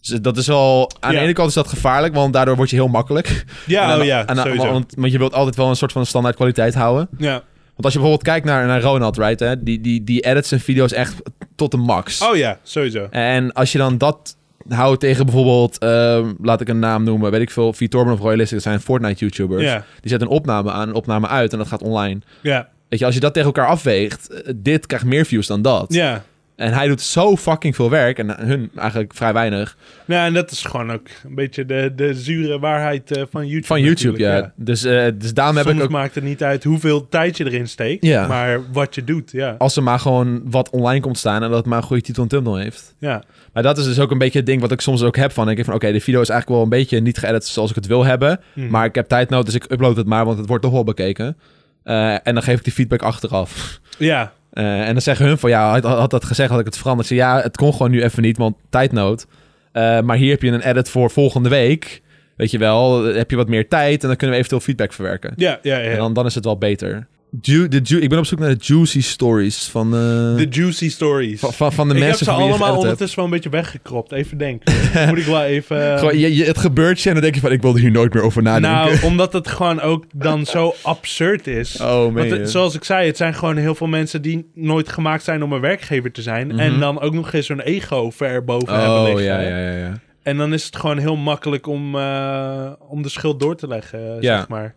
[SPEAKER 1] Dus dat is wel, aan
[SPEAKER 2] Ja.
[SPEAKER 1] de ene kant is dat gevaarlijk, want daardoor word je heel makkelijk. En
[SPEAKER 2] ja,
[SPEAKER 1] aan
[SPEAKER 2] oh
[SPEAKER 1] de-
[SPEAKER 2] ja,
[SPEAKER 1] aan de-
[SPEAKER 2] sowieso.
[SPEAKER 1] want, want je wilt altijd wel een soort van standaard kwaliteit houden.
[SPEAKER 2] ja.
[SPEAKER 1] Want als je bijvoorbeeld kijkt naar, naar Ronald, right, hè, die, die, die edits zijn video's echt tot de max.
[SPEAKER 2] Oh ja, sowieso.
[SPEAKER 1] En als je dan dat houdt tegen bijvoorbeeld, ehm, laat ik een naam noemen, weet ik veel, Vitorben of Royalistic, dat zijn Fortnite-YouTubers.
[SPEAKER 2] Ja,
[SPEAKER 1] Die zetten een opname aan, een opname uit en dat gaat online.
[SPEAKER 2] ja,
[SPEAKER 1] Weet je, als je dat tegen elkaar afweegt, eh, dit krijgt meer views dan dat.
[SPEAKER 2] ja.
[SPEAKER 1] En hij doet zo fucking veel werk en hun eigenlijk vrij weinig
[SPEAKER 2] Nou, en dat is gewoon ook een beetje de, de zure waarheid eh, van YouTube.
[SPEAKER 1] van YouTube. Ja.
[SPEAKER 2] natuurlijk,
[SPEAKER 1] Dus, eh, dus daarom
[SPEAKER 2] Soms
[SPEAKER 1] heb ik ook,
[SPEAKER 2] maakt het niet uit hoeveel tijd je erin steekt,
[SPEAKER 1] Ja.
[SPEAKER 2] maar wat je doet. Ja,
[SPEAKER 1] als er maar gewoon wat online komt staan en dat het maar een goede titel en thumbnail heeft.
[SPEAKER 2] ja,
[SPEAKER 1] Maar dat is dus ook een beetje het ding wat ik soms ook heb van, ik denk van oké, de video is eigenlijk wel een beetje niet geëdit zoals ik het wil hebben.
[SPEAKER 2] Mhm.
[SPEAKER 1] Maar ik heb tijd nodig, dus ik upload het maar, want het wordt toch wel bekeken. Eh, en dan geef ik die feedback achteraf.
[SPEAKER 2] ja,
[SPEAKER 1] Eh, en dan zeggen hun van, ja, had, had dat gezegd, had ik het veranderd. Ik zeg, ja, het kon gewoon nu even niet, want tijdnood. Eh, maar hier heb je een edit voor volgende week. Weet je wel, eh, heb je wat meer tijd en dan kunnen we eventueel feedback verwerken.
[SPEAKER 2] ja, ja.
[SPEAKER 1] En
[SPEAKER 2] ja.
[SPEAKER 1] dan, dan is het wel beter. Ju de ju ik ben op zoek naar de juicy stories van, eh,
[SPEAKER 2] De juicy stories.
[SPEAKER 1] van, van, van de
[SPEAKER 2] ik heb
[SPEAKER 1] mensen
[SPEAKER 2] ze
[SPEAKER 1] van wie je
[SPEAKER 2] allemaal
[SPEAKER 1] geëdit hebt.
[SPEAKER 2] ondertussen wel een beetje weggekropt. Even denken. Moet ik wel even... eh,
[SPEAKER 1] Gewoon, je, je- het gebeurt je en dan denk je van, ik wilde hier nooit meer over nadenken.
[SPEAKER 2] Nou, omdat het gewoon ook dan zo absurd is.
[SPEAKER 1] oh,
[SPEAKER 2] Want
[SPEAKER 1] meen
[SPEAKER 2] het-
[SPEAKER 1] je?
[SPEAKER 2] zoals ik zei, het zijn gewoon heel veel mensen die nooit gemaakt zijn om een werkgever te zijn. En dan ook nog eens hun ego ver boven hebben
[SPEAKER 1] Mhm. Oh,
[SPEAKER 2] liggen.
[SPEAKER 1] ja, ja, ja. ja.
[SPEAKER 2] En dan is het gewoon heel makkelijk om, eh, om de schuld door te leggen, eh,
[SPEAKER 1] Ja.
[SPEAKER 2] zeg maar.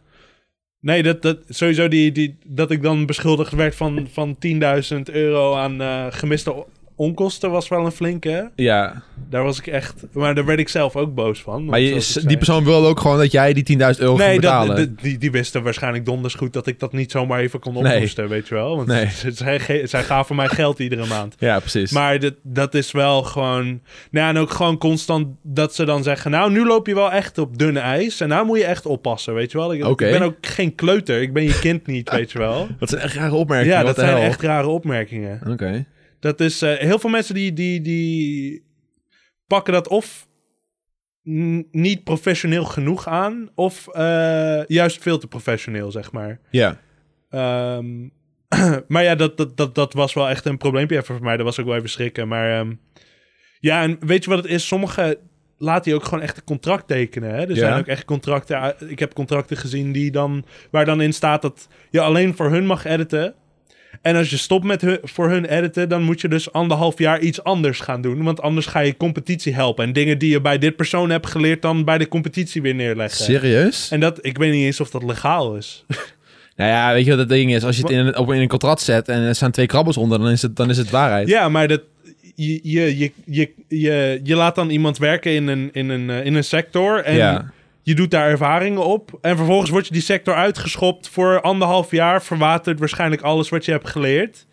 [SPEAKER 2] Nee, dat, dat, sowieso die, die, dat ik dan beschuldigd werd van, van 10.000 euro aan eh, gemiste o- onkosten was wel een flinke. hè?
[SPEAKER 1] Ja,
[SPEAKER 2] Daar was ik echt... Maar daar werd ik zelf ook boos van. want
[SPEAKER 1] maar je,
[SPEAKER 2] zoals ik
[SPEAKER 1] die
[SPEAKER 2] zei-
[SPEAKER 1] persoon wil ook gewoon dat jij die 10.000 euro
[SPEAKER 2] Nee,
[SPEAKER 1] gaat
[SPEAKER 2] dat,
[SPEAKER 1] betalen.
[SPEAKER 2] dat- die, die wisten waarschijnlijk donders goed dat ik dat niet zomaar even kon
[SPEAKER 1] Nee.
[SPEAKER 2] ophoesten, weet je wel. Want
[SPEAKER 1] Nee.
[SPEAKER 2] ze- zij, ge- zij gaven mij geld iedere maand.
[SPEAKER 1] Ja, precies.
[SPEAKER 2] Maar dat, dat is wel gewoon... Nou, ja, en ook gewoon constant dat ze dan zeggen... Nou, nu loop je wel echt op dunne ijs. En nou moet je echt oppassen, weet je wel. Ik,
[SPEAKER 1] Oké.
[SPEAKER 2] ik ben ook geen kleuter. Ik ben je kind niet, weet je wel.
[SPEAKER 1] dat zijn echt rare opmerkingen.
[SPEAKER 2] Ja,
[SPEAKER 1] wat
[SPEAKER 2] dat
[SPEAKER 1] de
[SPEAKER 2] zijn
[SPEAKER 1] hel.
[SPEAKER 2] echt rare opmerkingen.
[SPEAKER 1] Oké.
[SPEAKER 2] Dat is... eh, heel veel mensen die, die, die pakken dat of n- niet professioneel genoeg aan... of eh, juist veel te professioneel, zeg maar.
[SPEAKER 1] Ja.
[SPEAKER 2] Ehm, maar ja, dat, dat, dat, dat was wel echt een probleempje even voor mij. Dat was ook wel even schrikken. Maar ehm, ja, en weet je wat het is? Sommigen laten je ook gewoon echt een contract tekenen. Hè? Er
[SPEAKER 1] Ja.
[SPEAKER 2] zijn ook echt contracten. uit- Ik heb contracten gezien die dan, waar dan in staat dat je alleen voor hun mag editen. En als je stopt met hun, voor hun editen, dan moet je dus anderhalf jaar iets anders gaan doen. Want anders ga je competitie helpen. En dingen die je bij dit persoon hebt geleerd, dan bij de competitie weer neerleggen.
[SPEAKER 1] Serieus?
[SPEAKER 2] En dat, ik weet niet eens of dat legaal is.
[SPEAKER 1] Nou ja, weet je wat het ding is? Als je het in een, op, in een contract zet en er staan twee krabbels onder, dan is het, dan is het waarheid.
[SPEAKER 2] Ja, maar dat, je, je, je, je, je, je laat dan iemand werken in een, in een, eh, in een sector en
[SPEAKER 1] Ja.
[SPEAKER 2] je doet daar ervaringen op. En vervolgens word je die sector uitgeschopt voor anderhalf jaar, verwatert waarschijnlijk alles wat je hebt geleerd.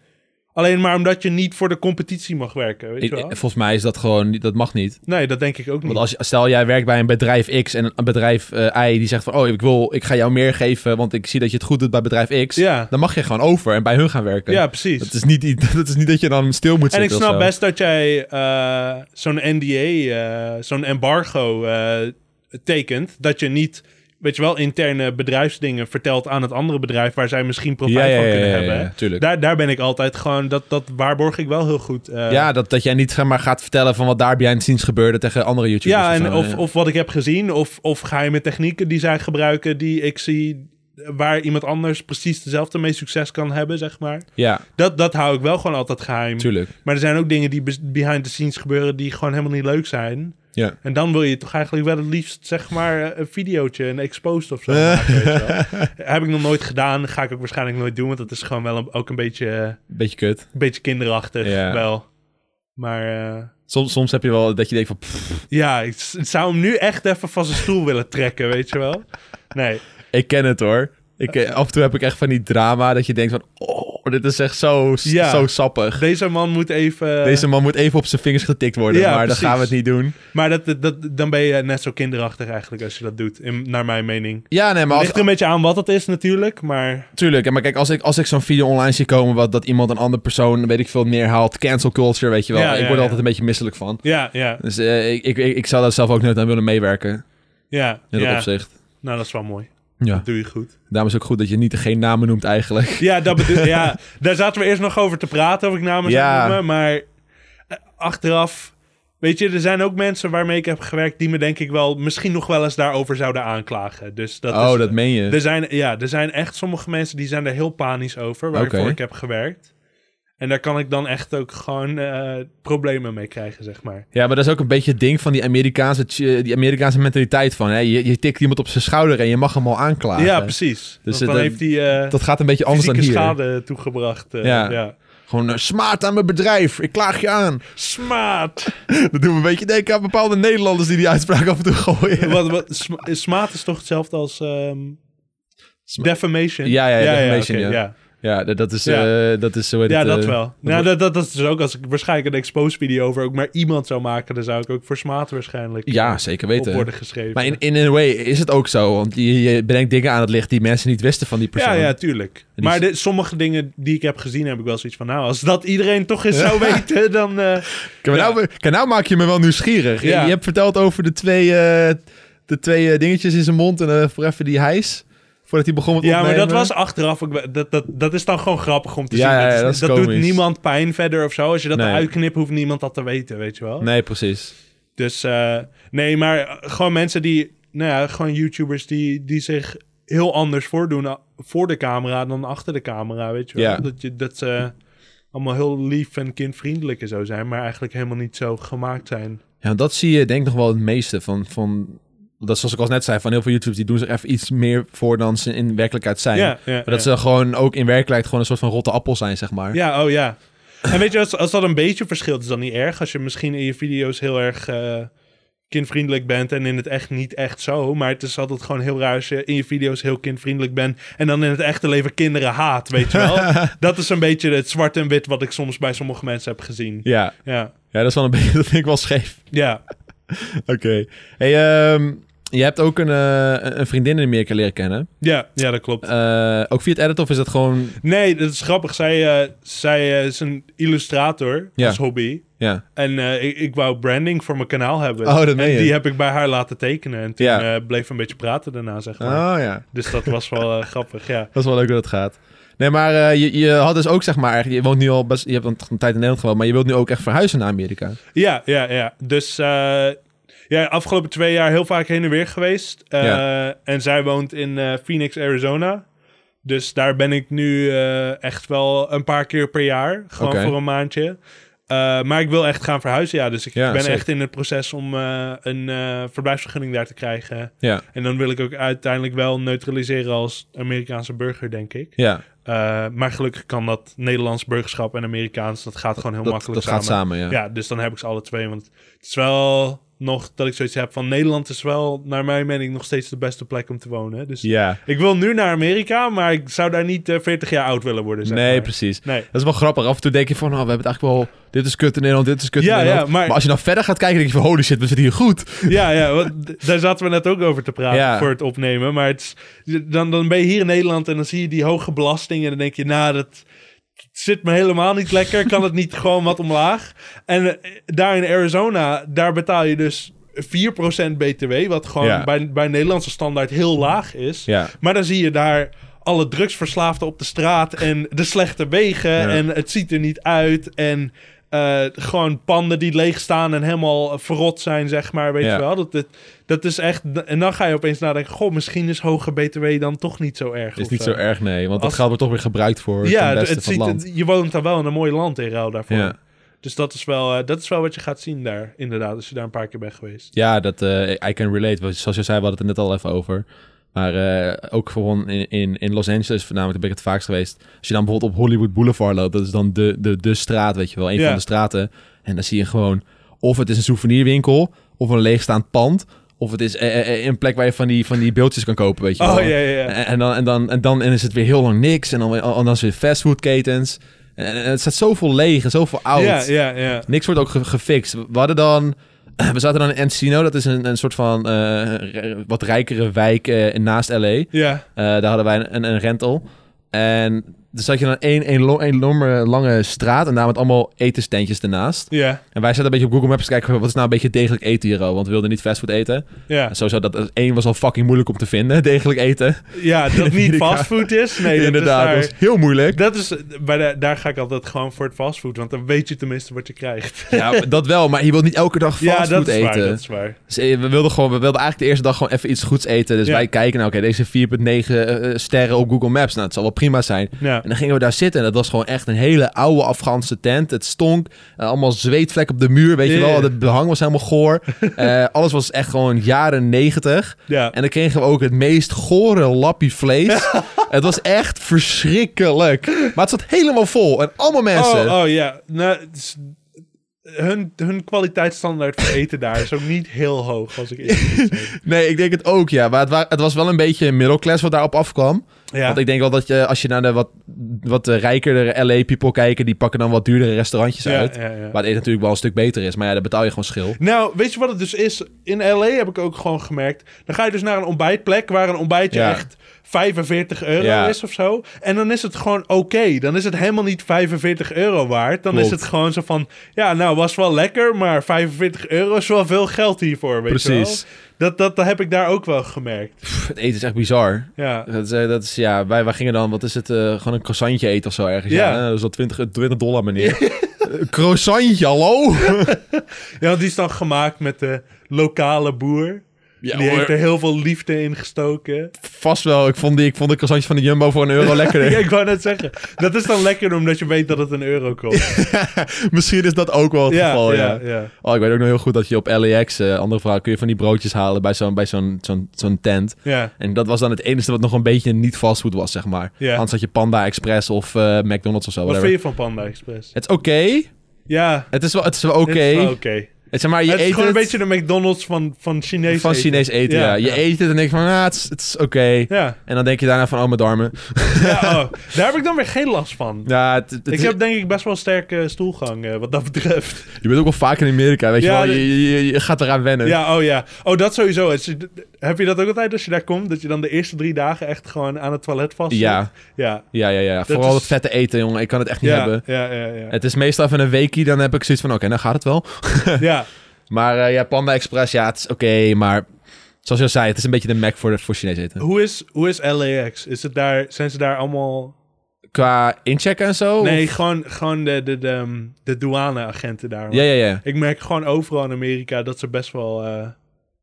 [SPEAKER 2] Alleen maar omdat je niet voor de competitie mag werken, weet
[SPEAKER 1] Ik- eh,
[SPEAKER 2] je wel? Hm.
[SPEAKER 1] volgens mij is dat gewoon, niet- dat mag niet.
[SPEAKER 2] Nee, dat denk ik ook niet.
[SPEAKER 1] Want als, je- stel jij werkt bij een bedrijf X en een bedrijf eh, Y die zegt van, oh, ik wil, ik ga jou meer geven, want ik zie dat je het goed doet bij bedrijf X.
[SPEAKER 2] Ja.
[SPEAKER 1] Dan mag je gewoon over en bij hun gaan werken.
[SPEAKER 2] Ja, precies.
[SPEAKER 1] Dat is niet, i- dat is niet dat je dan stil moet
[SPEAKER 2] En
[SPEAKER 1] zitten
[SPEAKER 2] ik
[SPEAKER 1] of
[SPEAKER 2] snap
[SPEAKER 1] zo.
[SPEAKER 2] best dat jij eh, zo'n NDA, eh, zo'n embargo eh, tekent. Dat je niet, weet je wel, interne bedrijfsdingen vertelt aan het andere bedrijf waar zij misschien profijt
[SPEAKER 1] Ja, ja,
[SPEAKER 2] van
[SPEAKER 1] ja,
[SPEAKER 2] kunnen
[SPEAKER 1] ja,
[SPEAKER 2] hebben.
[SPEAKER 1] ja, tuurlijk.
[SPEAKER 2] Daar, daar ben ik altijd gewoon, dat, dat waarborg ik wel heel goed. eh.
[SPEAKER 1] ja, dat, dat jij niet zeg maar, gaat vertellen van wat daar behind the scenes gebeurde tegen andere YouTubers.
[SPEAKER 2] ja, en
[SPEAKER 1] zo, eh.
[SPEAKER 2] of,
[SPEAKER 1] ja.
[SPEAKER 2] of wat ik heb gezien, of, of geheime technieken die zij gebruiken, die ik zie eh, waar iemand anders precies dezelfde mee succes kan hebben, zeg maar.
[SPEAKER 1] ja,
[SPEAKER 2] Dat, dat hou ik wel gewoon altijd geheim.
[SPEAKER 1] tuurlijk.
[SPEAKER 2] Maar er zijn ook dingen die bes- behind the scenes gebeuren die gewoon helemaal niet leuk zijn.
[SPEAKER 1] Ja.
[SPEAKER 2] En dan wil je toch eigenlijk wel het liefst, zeg maar, eh, een videootje, een exposed of zo. maken, weet je wel. Heb ik nog nooit gedaan, ga ik ook waarschijnlijk nooit doen, want dat is gewoon wel een- ook een beetje, eh,
[SPEAKER 1] Beetje kut.
[SPEAKER 2] een beetje kinderachtig
[SPEAKER 1] Ja.
[SPEAKER 2] wel. Maar eh,
[SPEAKER 1] Soms, soms heb je wel dat je denkt van, pff,
[SPEAKER 2] ja, ik s- zou hem nu echt even van zijn stoel willen trekken, weet je wel. Nee,
[SPEAKER 1] ik ken het hoor. Ik, eh, af en toe heb ik echt van die drama dat je denkt van, oh, dit is echt zo,
[SPEAKER 2] Ja.
[SPEAKER 1] zo sappig.
[SPEAKER 2] deze man moet even... eh,
[SPEAKER 1] Deze man moet even op zijn vingers getikt worden,
[SPEAKER 2] Ja,
[SPEAKER 1] maar
[SPEAKER 2] precies.
[SPEAKER 1] dan gaan we het niet doen.
[SPEAKER 2] Maar dat, dat, dat- dan ben je net zo kinderachtig eigenlijk als je dat doet, in, naar mijn mening.
[SPEAKER 1] Ja, nee, maar als,
[SPEAKER 2] Ligt er een beetje aan wat het is natuurlijk, maar...
[SPEAKER 1] tuurlijk. En Maar kijk, als ik, als ik zo'n video online zie komen wat, dat iemand een andere persoon, weet ik veel, neerhaalt, cancel culture, weet je wel.
[SPEAKER 2] Ja,
[SPEAKER 1] ik
[SPEAKER 2] ja,
[SPEAKER 1] word er
[SPEAKER 2] ja.
[SPEAKER 1] altijd een beetje misselijk van.
[SPEAKER 2] Ja, ja,
[SPEAKER 1] Dus eh, ik, ik, ik, ik zou daar zelf ook nooit aan willen meewerken,
[SPEAKER 2] ja.
[SPEAKER 1] in dat
[SPEAKER 2] ja.
[SPEAKER 1] opzicht.
[SPEAKER 2] Nou, dat is wel mooi.
[SPEAKER 1] Ja.
[SPEAKER 2] Dat doe je goed.
[SPEAKER 1] Daarom is het ook goed dat je niet geen namen noemt eigenlijk.
[SPEAKER 2] Ja, dat bedoel, ja, daar zaten we eerst nog over te praten, of ik namens
[SPEAKER 1] Ja.
[SPEAKER 2] ja. noemen. Maar eh, achteraf, weet je, er zijn ook mensen waarmee ik heb gewerkt... die me denk ik wel misschien nog wel eens daarover zouden aanklagen. Dus dat
[SPEAKER 1] oh,
[SPEAKER 2] is,
[SPEAKER 1] dat meen je.
[SPEAKER 2] er zijn, Ja, er zijn echt sommige mensen die zijn er heel panisch over... waarvoor
[SPEAKER 1] Oké.
[SPEAKER 2] ik heb gewerkt. En daar kan ik dan echt ook gewoon eh, problemen mee krijgen, zeg maar.
[SPEAKER 1] Ja, maar dat is ook een beetje het ding van die Amerikaanse, ch- die Amerikaanse mentaliteit van, hè? Je, je tikt iemand op zijn schouder en je mag hem al aanklagen.
[SPEAKER 2] ja, precies. Dus
[SPEAKER 1] eh,
[SPEAKER 2] dan
[SPEAKER 1] dat-
[SPEAKER 2] heeft hij
[SPEAKER 1] Dat gaat een beetje anders dan
[SPEAKER 2] fysieke
[SPEAKER 1] hier.
[SPEAKER 2] schade toegebracht. eh,
[SPEAKER 1] Ja.
[SPEAKER 2] ja.
[SPEAKER 1] Gewoon eh, smaad aan mijn bedrijf, ik klaag je aan.
[SPEAKER 2] Smaat!
[SPEAKER 1] Dat doet me een beetje denken aan bepaalde Nederlanders die die uitspraak af en toe gooien.
[SPEAKER 2] wat, wat, sma- smaad is toch hetzelfde als ehm,
[SPEAKER 1] Sma-
[SPEAKER 2] defamation?
[SPEAKER 1] Ja, ja, defamation,
[SPEAKER 2] oké,
[SPEAKER 1] ja.
[SPEAKER 2] ja.
[SPEAKER 1] Ja, dat, dat is...
[SPEAKER 2] Ja.
[SPEAKER 1] eh, dat is hoe heet
[SPEAKER 2] Ja,
[SPEAKER 1] het,
[SPEAKER 2] dat
[SPEAKER 1] eh,
[SPEAKER 2] wel. Nou, dat, dat, dat is dus ook als ik waarschijnlijk een expose video over ook maar iemand zou maken, dan zou ik ook voor smaad waarschijnlijk
[SPEAKER 1] Ja, zeker
[SPEAKER 2] op
[SPEAKER 1] weten.
[SPEAKER 2] worden geschreven.
[SPEAKER 1] Maar in, in een way is het ook zo. Want je, je brengt dingen aan het licht die mensen niet wisten van die persoon.
[SPEAKER 2] ja, ja, tuurlijk.
[SPEAKER 1] die
[SPEAKER 2] Maar
[SPEAKER 1] is-
[SPEAKER 2] de- sommige dingen die ik heb gezien, heb ik wel zoiets van, nou, als dat iedereen toch eens zou weten, dan... eh,
[SPEAKER 1] Kijk, maar
[SPEAKER 2] Ja.
[SPEAKER 1] nou, kijk, nou maak je me wel nieuwsgierig. Je-
[SPEAKER 2] Ja.
[SPEAKER 1] Je, hebt verteld over de twee, eh, de twee eh, dingetjes in zijn mond en eh, voor even die hijs. Voordat hij begon met
[SPEAKER 2] ja, maar
[SPEAKER 1] opnemen.
[SPEAKER 2] dat was achteraf, ook wel- dat, dat, dat is dan gewoon grappig om te
[SPEAKER 1] Ja,
[SPEAKER 2] zien.
[SPEAKER 1] ja,
[SPEAKER 2] dat is-
[SPEAKER 1] dat is
[SPEAKER 2] dat doet
[SPEAKER 1] komisch.
[SPEAKER 2] niemand pijn verder of zo. Als je dat
[SPEAKER 1] Nee.
[SPEAKER 2] eruit knipt, hoeft niemand dat te weten, weet je wel.
[SPEAKER 1] Nee, precies.
[SPEAKER 2] Dus eh, nee, maar eh, gewoon mensen die, nou ja, gewoon YouTubers die, die zich heel anders voordoen a- voor de camera dan achter de camera, weet je wel.
[SPEAKER 1] Ja.
[SPEAKER 2] Dat, je, dat ze allemaal heel lief en kindvriendelijk en zo zijn, maar eigenlijk helemaal niet zo gemaakt zijn.
[SPEAKER 1] Ja, want dat zie je denk ik nog wel het meeste van... van dat zoals ik al net zei, van heel veel YouTubers... die doen zich even iets meer voor dan ze in werkelijkheid zijn.
[SPEAKER 2] Ja, ja,
[SPEAKER 1] maar dat
[SPEAKER 2] ja.
[SPEAKER 1] ze gewoon ook in werkelijkheid... gewoon een soort van rotte appel zijn, zeg maar.
[SPEAKER 2] Ja, oh ja. En weet je, als, als dat een beetje verschilt, is dat niet erg. Als je misschien in je video's heel erg eh, kindvriendelijk bent en in het echt niet echt zo. Maar het is altijd gewoon heel raar als je in je video's heel kindvriendelijk bent en dan in het echte leven kinderen haat, weet je wel. dat is een beetje het zwart en wit wat ik soms bij sommige mensen heb gezien.
[SPEAKER 1] ja.
[SPEAKER 2] Ja,
[SPEAKER 1] Ja, dat is wel een beetje... dat vind ik wel scheef.
[SPEAKER 2] ja.
[SPEAKER 1] Oké. Hey, ehm, je hebt ook een, eh, een vriendin in Amerika leren kennen.
[SPEAKER 2] Ja, ja, dat klopt.
[SPEAKER 1] Eh, ook via het editen of is dat gewoon...
[SPEAKER 2] Nee, dat is grappig. Zij, eh, zij eh, is een illustrator
[SPEAKER 1] Ja.
[SPEAKER 2] als hobby.
[SPEAKER 1] Ja.
[SPEAKER 2] En eh, ik, ik wou branding voor mijn kanaal hebben.
[SPEAKER 1] Oh, dat meen
[SPEAKER 2] en
[SPEAKER 1] je.
[SPEAKER 2] die heb ik bij haar laten tekenen. En toen
[SPEAKER 1] Ja.
[SPEAKER 2] eh, bleef een beetje praten daarna, zeg maar.
[SPEAKER 1] Oh ja.
[SPEAKER 2] Dus dat was wel eh, grappig, ja.
[SPEAKER 1] Dat is wel leuk hoe dat gaat. Nee, maar eh, je, je had dus ook zeg maar... Je woont nu al best... Je hebt een tijd in Nederland gewoond, maar je wilt nu ook echt verhuizen naar Amerika.
[SPEAKER 2] Ja, ja, ja. Dus eh ja, afgelopen twee jaar heel vaak heen en weer geweest. Eh, En zij woont in eh, Phoenix, Arizona. Dus daar ben ik nu eh, echt wel een paar keer per jaar. Gewoon
[SPEAKER 1] Oké.
[SPEAKER 2] voor een maandje. Eh, maar ik wil echt gaan verhuizen, ja. Dus ik
[SPEAKER 1] Ja,
[SPEAKER 2] ben
[SPEAKER 1] zeker.
[SPEAKER 2] echt in het proces om eh, een eh, verblijfsvergunning daar te krijgen.
[SPEAKER 1] Ja.
[SPEAKER 2] En dan wil ik ook uiteindelijk wel neutraliseren als Amerikaanse burger, denk ik.
[SPEAKER 1] Ja,
[SPEAKER 2] Eh, maar gelukkig kan dat Nederlands burgerschap en Amerikaans, dat gaat gewoon heel
[SPEAKER 1] dat,
[SPEAKER 2] makkelijk
[SPEAKER 1] dat gaat samen, ja.
[SPEAKER 2] ja, dus dan heb ik ze alle twee. Want het is wel nog dat ik zoiets heb van Nederland is wel, naar mijn mening, nog steeds de beste plek om te wonen. Dus
[SPEAKER 1] Ja.
[SPEAKER 2] ik wil nu naar Amerika, maar ik zou daar niet eh, 40 jaar oud willen worden. Zeg
[SPEAKER 1] Nee,
[SPEAKER 2] maar.
[SPEAKER 1] precies.
[SPEAKER 2] Nee.
[SPEAKER 1] Dat is wel grappig. Af en toe denk je van, nou, we hebben het eigenlijk wel... Dit is kut in Nederland, dit is kut
[SPEAKER 2] Ja,
[SPEAKER 1] in
[SPEAKER 2] ja,
[SPEAKER 1] Nederland.
[SPEAKER 2] maar-
[SPEAKER 1] maar... als je nou verder gaat kijken, denk je van, holy shit, we zitten hier goed.
[SPEAKER 2] Ja, ja want d- daar zaten we net ook over te praten
[SPEAKER 1] Ja.
[SPEAKER 2] voor het opnemen. Maar het is, dan, dan ben je hier in Nederland en dan zie je die hoge belasting. En dan denk je, nou, dat zit me helemaal niet lekker. Kan het niet gewoon wat omlaag? En eh, daar in Arizona, daar betaal je dus 4% BTW. Wat gewoon
[SPEAKER 1] Ja.
[SPEAKER 2] bij, bij Nederlandse standaard heel laag is.
[SPEAKER 1] Ja.
[SPEAKER 2] Maar dan zie je daar alle drugsverslaafden op de straat en de slechte wegen
[SPEAKER 1] Ja.
[SPEAKER 2] en het ziet er niet uit en eh, gewoon panden die leeg staan en helemaal verrot zijn, zeg maar, weet
[SPEAKER 1] Ja.
[SPEAKER 2] je wel. Dat, dat, dat is echt... En dan ga je opeens nadenken, goh, misschien is hoge btw dan toch niet zo erg.
[SPEAKER 1] is
[SPEAKER 2] of
[SPEAKER 1] niet zo erg, nee. Want dat
[SPEAKER 2] Als-
[SPEAKER 1] geld wordt toch weer gebruikt voor
[SPEAKER 2] Ja,
[SPEAKER 1] het
[SPEAKER 2] het,
[SPEAKER 1] beste
[SPEAKER 2] het
[SPEAKER 1] van
[SPEAKER 2] ziet,
[SPEAKER 1] het land.
[SPEAKER 2] je woont dan wel in een mooi land in ruil daarvoor.
[SPEAKER 1] Ja.
[SPEAKER 2] Dus dat is, wel, eh, dat is wel wat je gaat zien daar, inderdaad, als je daar een paar keer bent geweest.
[SPEAKER 1] Ja, dat eh, I can relate. Want Zoals je zei, we hadden het er net al even over. Maar eh, ook gewoon in, in, in Los Angeles, voornamelijk ben ik het vaakst geweest. Als je dan bijvoorbeeld op Hollywood Boulevard loopt, dat is dan de, de, de straat, weet je wel, een
[SPEAKER 2] Ja.
[SPEAKER 1] van de straten. En dan zie je gewoon, of het is een souvenirwinkel, of een leegstaand pand, of het is eh, eh, eh, een plek waar je van die, van die beeldjes kan kopen, weet je
[SPEAKER 2] Oh,
[SPEAKER 1] wel.
[SPEAKER 2] ja, ja, ja.
[SPEAKER 1] En, en dan, en, dan, en dan en is het weer heel lang niks, en dan, weer- en dan is het weer fastfoodketens. En, en het staat zoveel leeg en zoveel oud.
[SPEAKER 2] Ja, ja, ja.
[SPEAKER 1] Niks wordt ook ge- gefixt. We hadden dan... We zaten dan in Encino. Dat is een, een soort van eh, r- wat rijkere wijk eh, naast L.A. Eh,
[SPEAKER 2] Ja,
[SPEAKER 1] daar hadden wij een, een rental. En dus zat je dan één, één, lo- één lange, lange straat... en daar met allemaal etenstentjes ernaast.
[SPEAKER 2] ja,
[SPEAKER 1] En wij zaten een beetje op Google Maps te kijken... wat is nou een beetje degelijk eten hier, oh? Want we wilden niet fastfood eten.
[SPEAKER 2] ja.
[SPEAKER 1] En sowieso, dat één was al fucking moeilijk om te vinden. Degelijk eten.
[SPEAKER 2] Ja, dat niet
[SPEAKER 1] Amerika.
[SPEAKER 2] fastfood is. Nee, dat
[SPEAKER 1] Inderdaad,
[SPEAKER 2] Is daar-
[SPEAKER 1] dat was heel moeilijk.
[SPEAKER 2] Dat is, bij de- daar ga ik altijd gewoon voor het fastfood, want dan weet je tenminste wat je krijgt.
[SPEAKER 1] Ja, dat wel. Maar je wilt niet elke dag
[SPEAKER 2] ja,
[SPEAKER 1] fastfood
[SPEAKER 2] dat is,
[SPEAKER 1] eten.
[SPEAKER 2] waar, dat is waar.
[SPEAKER 1] Dus, eh, we wilden gewoon, we wilden eigenlijk de eerste dag gewoon even iets goeds eten. Dus
[SPEAKER 2] Ja.
[SPEAKER 1] wij kijken, nou, oké, deze 4,9 eh, sterren op Google Maps. Nou, het zal wel prima zijn.
[SPEAKER 2] Ja.
[SPEAKER 1] En dan gingen we daar zitten en dat was gewoon echt een hele oude Afghaanse tent. Het stonk, eh, allemaal zweetvlek op de muur, weet
[SPEAKER 2] Ja,
[SPEAKER 1] je
[SPEAKER 2] ja,
[SPEAKER 1] wel.
[SPEAKER 2] ja.
[SPEAKER 1] Het behang was helemaal goor. Eh, alles was echt gewoon jaren 90.
[SPEAKER 2] Ja.
[SPEAKER 1] En dan kregen we ook het meest gore lappie vlees. het was echt verschrikkelijk. Maar het zat helemaal vol en allemaal mensen.
[SPEAKER 2] Oh, oh ja. Nou, het is- hun, hun kwaliteitsstandaard voor eten daar is ook niet heel hoog, als ik eerlijk moet zijn.
[SPEAKER 1] Nee, ik denk het ook, ja. Maar het, wa- het was wel een beetje middelklas wat daarop afkwam.
[SPEAKER 2] Ja.
[SPEAKER 1] Want ik denk wel dat je, als je naar de wat, wat eh, rijkerdere LA-people kijken, die pakken dan wat duurdere restaurantjes
[SPEAKER 2] Ja,
[SPEAKER 1] uit.
[SPEAKER 2] ja, ja.
[SPEAKER 1] Waar het eten natuurlijk wel een stuk beter is. Maar ja, daar betaal je gewoon schil.
[SPEAKER 2] Nou, weet je wat het dus is? In LA heb ik ook gewoon gemerkt. Dan ga je dus naar een ontbijtplek waar een ontbijtje
[SPEAKER 1] Ja.
[SPEAKER 2] echt 45 euro
[SPEAKER 1] Ja.
[SPEAKER 2] is of zo. En dan is het gewoon oké. Dan is het helemaal niet 45 euro waard. Dan is
[SPEAKER 1] Klopt.
[SPEAKER 2] het gewoon zo van, ja, nou was wel lekker, maar 45 euro is wel veel geld hiervoor, weet je wel.
[SPEAKER 1] Precies.
[SPEAKER 2] Dat, dat, dat heb ik daar ook wel gemerkt.
[SPEAKER 1] Pff, het eten is echt bizar.
[SPEAKER 2] Ja.
[SPEAKER 1] Dat is, eh, dat is, ja, wij, wij gingen dan, wat is het, eh, gewoon een croissantje eten of zo ergens.
[SPEAKER 2] Ja.
[SPEAKER 1] Ja, eh, dat is al 20, 20 dollar, meneer. Een croissantje, hallo?
[SPEAKER 2] ja, want die is dan gemaakt met de lokale boer.
[SPEAKER 1] Ja,
[SPEAKER 2] die heeft
[SPEAKER 1] hoor,
[SPEAKER 2] er heel veel liefde in gestoken.
[SPEAKER 1] vast wel. Ik vond, die, ik vond de croissantjes van de Jumbo voor een euro lekkerder.
[SPEAKER 2] Ja, ik wou net zeggen. Dat is dan lekker omdat je weet dat het een euro kost.
[SPEAKER 1] Misschien is dat ook wel het
[SPEAKER 2] Ja,
[SPEAKER 1] geval, ja.
[SPEAKER 2] ja, ja.
[SPEAKER 1] Oh, ik weet ook nog heel goed dat je op LAX, eh, andere verhaal, kun je van die broodjes halen bij zo'n bij zo'n zo'n zo'n tent.
[SPEAKER 2] ja.
[SPEAKER 1] En dat was dan het enige wat nog een beetje niet fastfood was, zeg maar.
[SPEAKER 2] Ja.
[SPEAKER 1] Anders had je Panda Express of eh, McDonald's of zo.
[SPEAKER 2] Wat
[SPEAKER 1] whatever.
[SPEAKER 2] vind je van Panda Express?
[SPEAKER 1] Het is oké.
[SPEAKER 2] Ja,
[SPEAKER 1] Het is wel het is wel oké.
[SPEAKER 2] het is wel oké.
[SPEAKER 1] Het, zeg maar, je
[SPEAKER 2] Het is
[SPEAKER 1] eet
[SPEAKER 2] gewoon
[SPEAKER 1] het
[SPEAKER 2] een beetje de McDonald's van, van Chinees
[SPEAKER 1] van
[SPEAKER 2] eten.
[SPEAKER 1] Chinees eten, ja.
[SPEAKER 2] Ja,
[SPEAKER 1] Je
[SPEAKER 2] ja.
[SPEAKER 1] eet het en denk je van, ah, het is, het is oké.
[SPEAKER 2] Ja,
[SPEAKER 1] En dan denk je daarna van, oh, mijn darmen.
[SPEAKER 2] ja oh, daar heb ik dan weer geen last van.
[SPEAKER 1] Ja, het, het
[SPEAKER 2] ik
[SPEAKER 1] is-
[SPEAKER 2] heb denk ik best wel een sterke stoelgang eh, wat dat betreft.
[SPEAKER 1] Je bent ook wel vaak in Amerika, weet
[SPEAKER 2] Ja,
[SPEAKER 1] je wel.
[SPEAKER 2] de-
[SPEAKER 1] Je, je, je gaat eraan wennen.
[SPEAKER 2] Ja, oh ja. Oh, dat sowieso. Als je- Heb je dat ook altijd als je daar komt? Dat je dan de eerste drie dagen echt gewoon aan het toilet vast zit?
[SPEAKER 1] Ja,
[SPEAKER 2] Ja.
[SPEAKER 1] ja, ja. ja. Vooral
[SPEAKER 2] is-
[SPEAKER 1] het vette eten, jongen. Ik kan het echt niet
[SPEAKER 2] Ja,
[SPEAKER 1] hebben.
[SPEAKER 2] ja, ja, ja.
[SPEAKER 1] Het is meestal even een weekie, dan heb ik zoiets van, oké, dan gaat het wel.
[SPEAKER 2] ja.
[SPEAKER 1] Maar eh, ja, Panda Express, ja, het is oké, maar... Zoals je al zei, het is een beetje de Mac voor, voor Chinees eten.
[SPEAKER 2] Hoe is, hoe is LAX? Is het daar, zijn ze daar allemaal...
[SPEAKER 1] Qua inchecken en zo?
[SPEAKER 2] Nee, gewoon, gewoon de, de, de, ehm, de douaneagenten daar.
[SPEAKER 1] Ja, ja, ja.
[SPEAKER 2] Ik merk gewoon overal in Amerika dat ze best wel eh,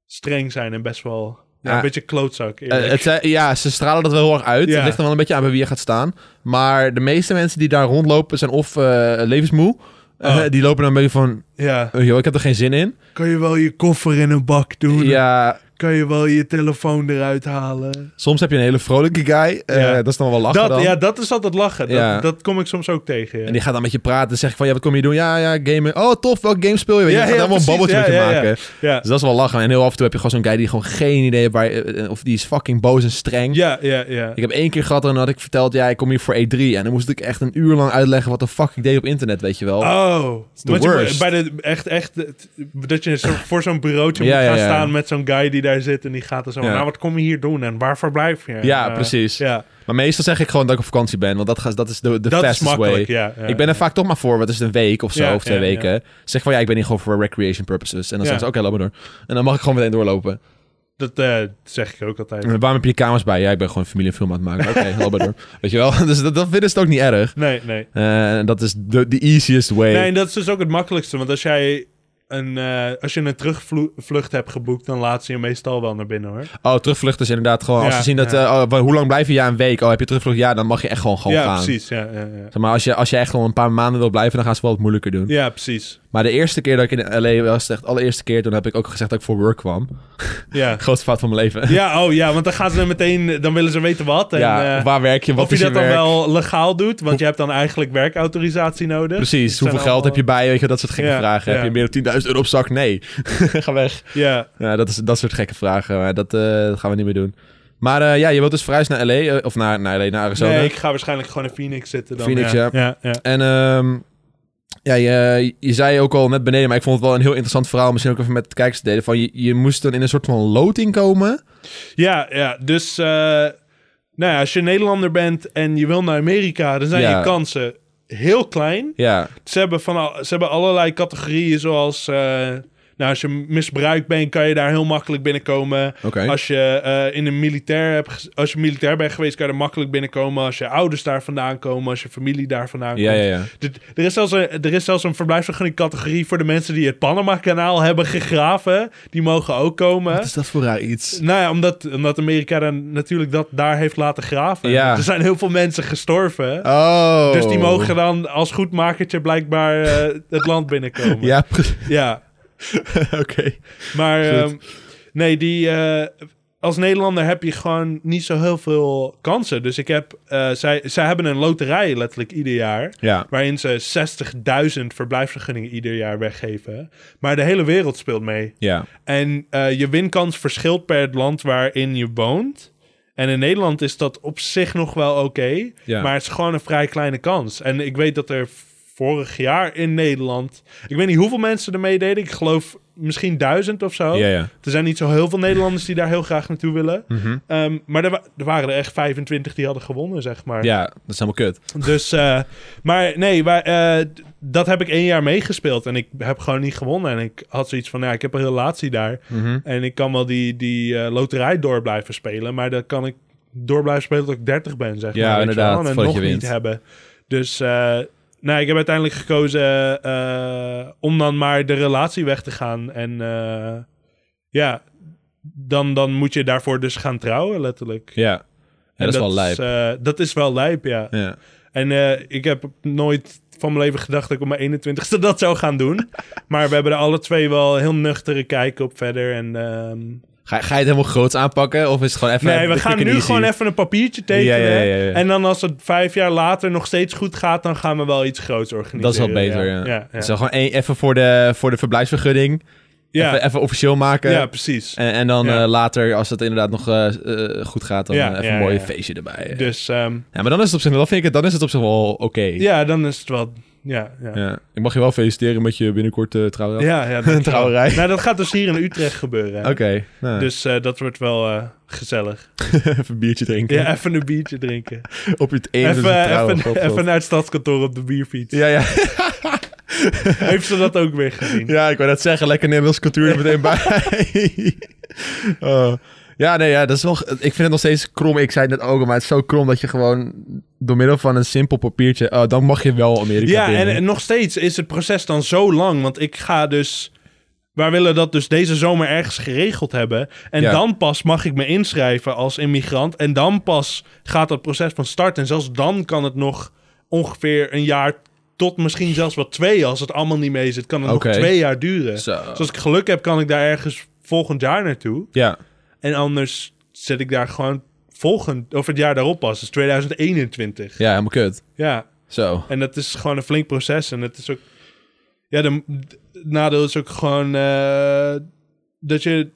[SPEAKER 2] streng zijn en best wel... Ja,
[SPEAKER 1] Ja.
[SPEAKER 2] een beetje klootzak.
[SPEAKER 1] Eh,
[SPEAKER 2] eerlijk.
[SPEAKER 1] het, zijn- ja, ze stralen dat wel heel erg uit.
[SPEAKER 2] Ja.
[SPEAKER 1] Het ligt er wel een beetje aan bij wie je gaat staan. Maar de meeste mensen die daar rondlopen zijn of eh, levensmoe. Eh,
[SPEAKER 2] Oh.
[SPEAKER 1] die lopen dan een beetje van,
[SPEAKER 2] ja.
[SPEAKER 1] "Oh, joh, ik heb er geen zin in.
[SPEAKER 2] Kan je wel je koffer in een bak doen?
[SPEAKER 1] Ja,
[SPEAKER 2] Kan je wel je telefoon eruit halen?
[SPEAKER 1] soms heb je een hele vrolijke guy. Eh,
[SPEAKER 2] Ja.
[SPEAKER 1] Dat is dan wel lachen
[SPEAKER 2] Dat,
[SPEAKER 1] dan.
[SPEAKER 2] ja, dat is altijd lachen. Dat,
[SPEAKER 1] Ja.
[SPEAKER 2] dat kom ik soms ook tegen. ja.
[SPEAKER 1] En die gaat dan met je praten. Dan zeg ik van, ja, wat kom je doen? Ja, ja, gamen. Oh, tof, welk game speel je? Weet je
[SPEAKER 2] Ja,
[SPEAKER 1] gaat
[SPEAKER 2] ja,
[SPEAKER 1] helemaal een
[SPEAKER 2] precies.
[SPEAKER 1] babbeltje met
[SPEAKER 2] Ja,
[SPEAKER 1] je
[SPEAKER 2] ja, ja.
[SPEAKER 1] maken.
[SPEAKER 2] Ja,
[SPEAKER 1] Dus dat is wel lachen. En heel af en toe heb je gewoon zo'n guy die gewoon geen idee heeft waar... eh, Of die is fucking boos en streng.
[SPEAKER 2] ja, ja. ja.
[SPEAKER 1] Ik heb één keer gehad en dan had ik verteld... Ja, ik kom hier voor E3. En dan moest ik echt een uur lang uitleggen wat de fuck ik deed op internet, weet je wel.
[SPEAKER 2] Oh,
[SPEAKER 1] the
[SPEAKER 2] want je-
[SPEAKER 1] worst.
[SPEAKER 2] bij de, echt, echt, het- dat je zo, voor zo'n bureautje
[SPEAKER 1] Ja,
[SPEAKER 2] moet
[SPEAKER 1] ja,
[SPEAKER 2] gaan
[SPEAKER 1] ja.
[SPEAKER 2] staan met zo'n guy die daar zit en die gaat er zo.
[SPEAKER 1] Ja.
[SPEAKER 2] Nou, wat kom je hier doen en waar verblijf je?
[SPEAKER 1] Ja,
[SPEAKER 2] Eh,
[SPEAKER 1] precies.
[SPEAKER 2] Ja,
[SPEAKER 1] Maar meestal zeg ik gewoon dat ik op vakantie ben. Want dat, ga- dat is de, de
[SPEAKER 2] dat is
[SPEAKER 1] fastest way.
[SPEAKER 2] makkelijk. Ja, ja.
[SPEAKER 1] ik ben er vaak toch maar voor. Wat is het, een week of zo?
[SPEAKER 2] Ja,
[SPEAKER 1] of twee
[SPEAKER 2] ja, ja.
[SPEAKER 1] weken. Zeg van, ja, ik ben hier gewoon voor recreation purposes. En dan
[SPEAKER 2] Ja.
[SPEAKER 1] zeggen ze, oké, loop maar door. En dan mag ik gewoon meteen doorlopen.
[SPEAKER 2] Dat eh, zeg ik ook altijd.
[SPEAKER 1] En Waarom heb je die kamers bij? Ja, ik ben gewoon familie en film aan het maken. Oké, loop maar door. Weet je wel? Dus dat, dat vinden ze het ook niet erg.
[SPEAKER 2] Nee, nee.
[SPEAKER 1] Eh, dat is de de easiest way.
[SPEAKER 2] Nee, en dat is dus ook het makkelijkste. Want als jij een, eh, als je een terugvlucht hebt geboekt, dan laat ze je meestal wel naar binnen hoor.
[SPEAKER 1] Oh, terugvlucht is inderdaad gewoon... Als
[SPEAKER 2] Ja,
[SPEAKER 1] ze zien dat...
[SPEAKER 2] ja.
[SPEAKER 1] eh, oh, wa- hoe lang blijf je? Ja, een week. Oh, heb je terugvlucht? Ja, dan mag je echt gewoon, gewoon
[SPEAKER 2] ja,
[SPEAKER 1] gaan.
[SPEAKER 2] precies. Ja, ja, ja.
[SPEAKER 1] Zeg maar als je, als je echt al een paar maanden wil blijven... dan gaan ze wel wat moeilijker doen.
[SPEAKER 2] ja, precies.
[SPEAKER 1] Maar de eerste keer dat ik in L.A. was... echt de allereerste keer... toen heb ik ook gezegd dat ik voor work kwam.
[SPEAKER 2] Ja.
[SPEAKER 1] Grootste fout van mijn leven.
[SPEAKER 2] ja, oh ja, want dan gaan ze meteen, dan willen ze weten wat. En,
[SPEAKER 1] Ja,
[SPEAKER 2] eh,
[SPEAKER 1] waar werk je? Wat
[SPEAKER 2] of je
[SPEAKER 1] is je
[SPEAKER 2] dat dan
[SPEAKER 1] werk?
[SPEAKER 2] wel legaal doet, want je hebt dan eigenlijk werkautorisatie nodig.
[SPEAKER 1] Precies,
[SPEAKER 2] Het
[SPEAKER 1] hoeveel
[SPEAKER 2] zijn
[SPEAKER 1] geld heb je
[SPEAKER 2] allemaal-
[SPEAKER 1] bij? je? Weet je, dat soort gekke
[SPEAKER 2] Ja,
[SPEAKER 1] vragen.
[SPEAKER 2] ja.
[SPEAKER 1] Heb je meer dan 10.000 euro op zak? Nee. Ga weg.
[SPEAKER 2] Ja,
[SPEAKER 1] Ja, dat, is, dat soort gekke vragen. Maar dat, eh, dat gaan we niet meer doen. Maar eh, ja, je wilt dus verhuisd naar L.A. eh, of naar, naar L.A., naar Arizona.
[SPEAKER 2] nee, ik ga waarschijnlijk gewoon in Phoenix zitten dan.
[SPEAKER 1] Phoenix,
[SPEAKER 2] ja. ja. ja.
[SPEAKER 1] En ehm, ja, je, je zei ook al net beneden, maar ik vond het wel een heel interessant verhaal. Misschien ook even met de kijkers te delen. Van je, je moest dan in een soort van loting komen.
[SPEAKER 2] Ja, ja, dus eh, nou ja, als je Nederlander bent en je wil naar Amerika, dan zijn
[SPEAKER 1] Ja.
[SPEAKER 2] je kansen heel klein.
[SPEAKER 1] Ja,
[SPEAKER 2] Ze hebben, van al- ze hebben allerlei categorieën zoals... eh, nou, als je misbruikt bent, kan je daar heel makkelijk binnenkomen.
[SPEAKER 1] oké.
[SPEAKER 2] Als je, eh, in een militair hebt, ge- als je militair bent geweest, kan je er makkelijk binnenkomen. Als je ouders daar vandaan komen, als je familie daar vandaan
[SPEAKER 1] Ja,
[SPEAKER 2] komt.
[SPEAKER 1] ja, ja.
[SPEAKER 2] Dit- Er is, zelfs een, er is zelfs een verblijfsvergunning categorie voor de mensen die het Panama-kanaal hebben gegraven. Die mogen ook komen.
[SPEAKER 1] dat voor raar iets?
[SPEAKER 2] Nou ja, omdat, omdat Amerika dan natuurlijk dat daar heeft laten graven.
[SPEAKER 1] Ja.
[SPEAKER 2] Er zijn heel veel mensen gestorven.
[SPEAKER 1] Oh.
[SPEAKER 2] Dus die mogen dan als goedmakertje blijkbaar eh, het land binnenkomen.
[SPEAKER 1] Ja, pre-
[SPEAKER 2] Ja.
[SPEAKER 1] oké.
[SPEAKER 2] Maar
[SPEAKER 1] Goed.
[SPEAKER 2] ehm, nee, die, eh, als Nederlander heb je gewoon niet zo heel veel kansen. Dus ik heb, eh, zij, zij hebben een loterij letterlijk ieder jaar.
[SPEAKER 1] Ja.
[SPEAKER 2] Waarin ze 60.000 verblijfsvergunningen ieder jaar weggeven. Maar de hele wereld speelt mee.
[SPEAKER 1] Ja.
[SPEAKER 2] En eh, je winkans verschilt per het land waarin je woont. En in Nederland is dat op zich nog wel oké.
[SPEAKER 1] Ja.
[SPEAKER 2] Maar het is gewoon een vrij kleine kans. En ik weet dat er vorig jaar in Nederland... Ik weet niet hoeveel mensen er meededen. Ik geloof misschien duizend of zo.
[SPEAKER 1] Ja, ja.
[SPEAKER 2] Er zijn niet zo heel veel Nederlanders die daar heel graag naartoe willen.
[SPEAKER 1] Mhm.
[SPEAKER 2] Ehm, maar er, wa- er waren er echt 25 die hadden gewonnen, zeg maar.
[SPEAKER 1] Ja, dat is helemaal kut.
[SPEAKER 2] Dus, eh, maar nee, maar, eh, d- dat heb ik één jaar meegespeeld. En ik heb gewoon niet gewonnen. En ik had zoiets van, ja, ik heb een relatie daar.
[SPEAKER 1] Mhm.
[SPEAKER 2] En ik kan wel die, die eh, loterij door blijven spelen. Maar dan kan ik door blijven spelen tot ik 30 ben, zeg
[SPEAKER 1] Ja,
[SPEAKER 2] maar. weet je
[SPEAKER 1] inderdaad,
[SPEAKER 2] wel, En
[SPEAKER 1] voordat
[SPEAKER 2] nog
[SPEAKER 1] je
[SPEAKER 2] niet
[SPEAKER 1] wint.
[SPEAKER 2] hebben. Dus, eh nou, ik heb uiteindelijk gekozen eh, om dan maar de relatie weg te gaan. En eh, ja, dan, dan moet je daarvoor dus gaan trouwen, letterlijk.
[SPEAKER 1] Ja. ja
[SPEAKER 2] En
[SPEAKER 1] dat is wel lijp.
[SPEAKER 2] eh, dat is wel lijp, ja.
[SPEAKER 1] ja.
[SPEAKER 2] En eh, ik heb nooit van mijn leven gedacht dat ik op mijn 21ste dat zou gaan doen. maar we hebben er alle twee wel heel nuchtere kijk op verder. En, ehm,
[SPEAKER 1] Ga, ga je het helemaal groots aanpakken? Of is het gewoon even...
[SPEAKER 2] nee, we
[SPEAKER 1] quick
[SPEAKER 2] gaan
[SPEAKER 1] and
[SPEAKER 2] nu
[SPEAKER 1] easy?
[SPEAKER 2] gewoon even een papiertje tekenen.
[SPEAKER 1] Ja, ja, ja, ja.
[SPEAKER 2] En dan als het vijf jaar later nog steeds goed gaat, dan gaan we wel iets groots organiseren.
[SPEAKER 1] Dat is wel beter, ja.
[SPEAKER 2] Ja, ja, ja.
[SPEAKER 1] Dus dan gewoon één- even voor de, voor de verblijfsvergunning.
[SPEAKER 2] Ja,
[SPEAKER 1] Even, even officieel maken.
[SPEAKER 2] ja, precies.
[SPEAKER 1] En, en dan
[SPEAKER 2] Ja.
[SPEAKER 1] eh, later, als het inderdaad nog eh, eh, goed gaat, dan
[SPEAKER 2] Ja,
[SPEAKER 1] eh, even
[SPEAKER 2] ja,
[SPEAKER 1] een mooi
[SPEAKER 2] ja.
[SPEAKER 1] feestje erbij.
[SPEAKER 2] Dus ehm,
[SPEAKER 1] Ja, maar dan is het op zich, dan vind ik het, dan is het op zich wel oké.
[SPEAKER 2] ja, dan is het wel... Ja, ja. ja.
[SPEAKER 1] Ja. Ik mag je wel feliciteren met je binnenkort eh trouwdag.
[SPEAKER 2] Ja,
[SPEAKER 1] Een
[SPEAKER 2] dat-
[SPEAKER 1] trouwerij.
[SPEAKER 2] Nou, dat gaat dus hier in Utrecht gebeuren.
[SPEAKER 1] Oké, nou,
[SPEAKER 2] Dus eh, dat wordt wel eh, gezellig.
[SPEAKER 1] even een biertje drinken.
[SPEAKER 2] Ja, even een biertje drinken.
[SPEAKER 1] Op je
[SPEAKER 2] Even,
[SPEAKER 1] ene
[SPEAKER 2] even,
[SPEAKER 1] trouwen.
[SPEAKER 2] even,
[SPEAKER 1] God, God.
[SPEAKER 2] naar het stadskantoor op de bierfiets.
[SPEAKER 1] Ja, ja.
[SPEAKER 2] Heeft ze dat ook weer gezien?
[SPEAKER 1] ja, ik wou net zeggen, lekker Nederlandse cultuur er meteen bij. Oh. ja, nee, ja, dat is wel, ik vind het nog steeds krom. Ik zei het net ook, al, maar het is zo krom dat je gewoon door middel van een simpel papiertje, oh, dan mag je wel Amerika
[SPEAKER 2] Ja,
[SPEAKER 1] binnen.
[SPEAKER 2] en, en nog steeds is het proces dan zo lang. Want ik ga dus... Wij willen dat dus deze zomer ergens geregeld hebben. En
[SPEAKER 1] Ja.
[SPEAKER 2] dan pas mag ik me inschrijven als immigrant. En dan pas gaat dat proces van start. En zelfs dan kan het nog ongeveer een jaar... tot misschien zelfs wel twee, als het allemaal niet mee zit... kan het
[SPEAKER 1] Oké.
[SPEAKER 2] nog twee jaar duren.
[SPEAKER 1] Zo.
[SPEAKER 2] Dus als ik geluk heb, kan ik daar ergens volgend jaar naartoe.
[SPEAKER 1] Ja,
[SPEAKER 2] En anders zet ik daar gewoon volgend, of het jaar daarop pas, dus 2021. Ja.
[SPEAKER 1] ja, helemaal kut. Zo.
[SPEAKER 2] en dat is gewoon een flink proces. En het is ook, ja, de, het nadeel is ook gewoon eh, dat je,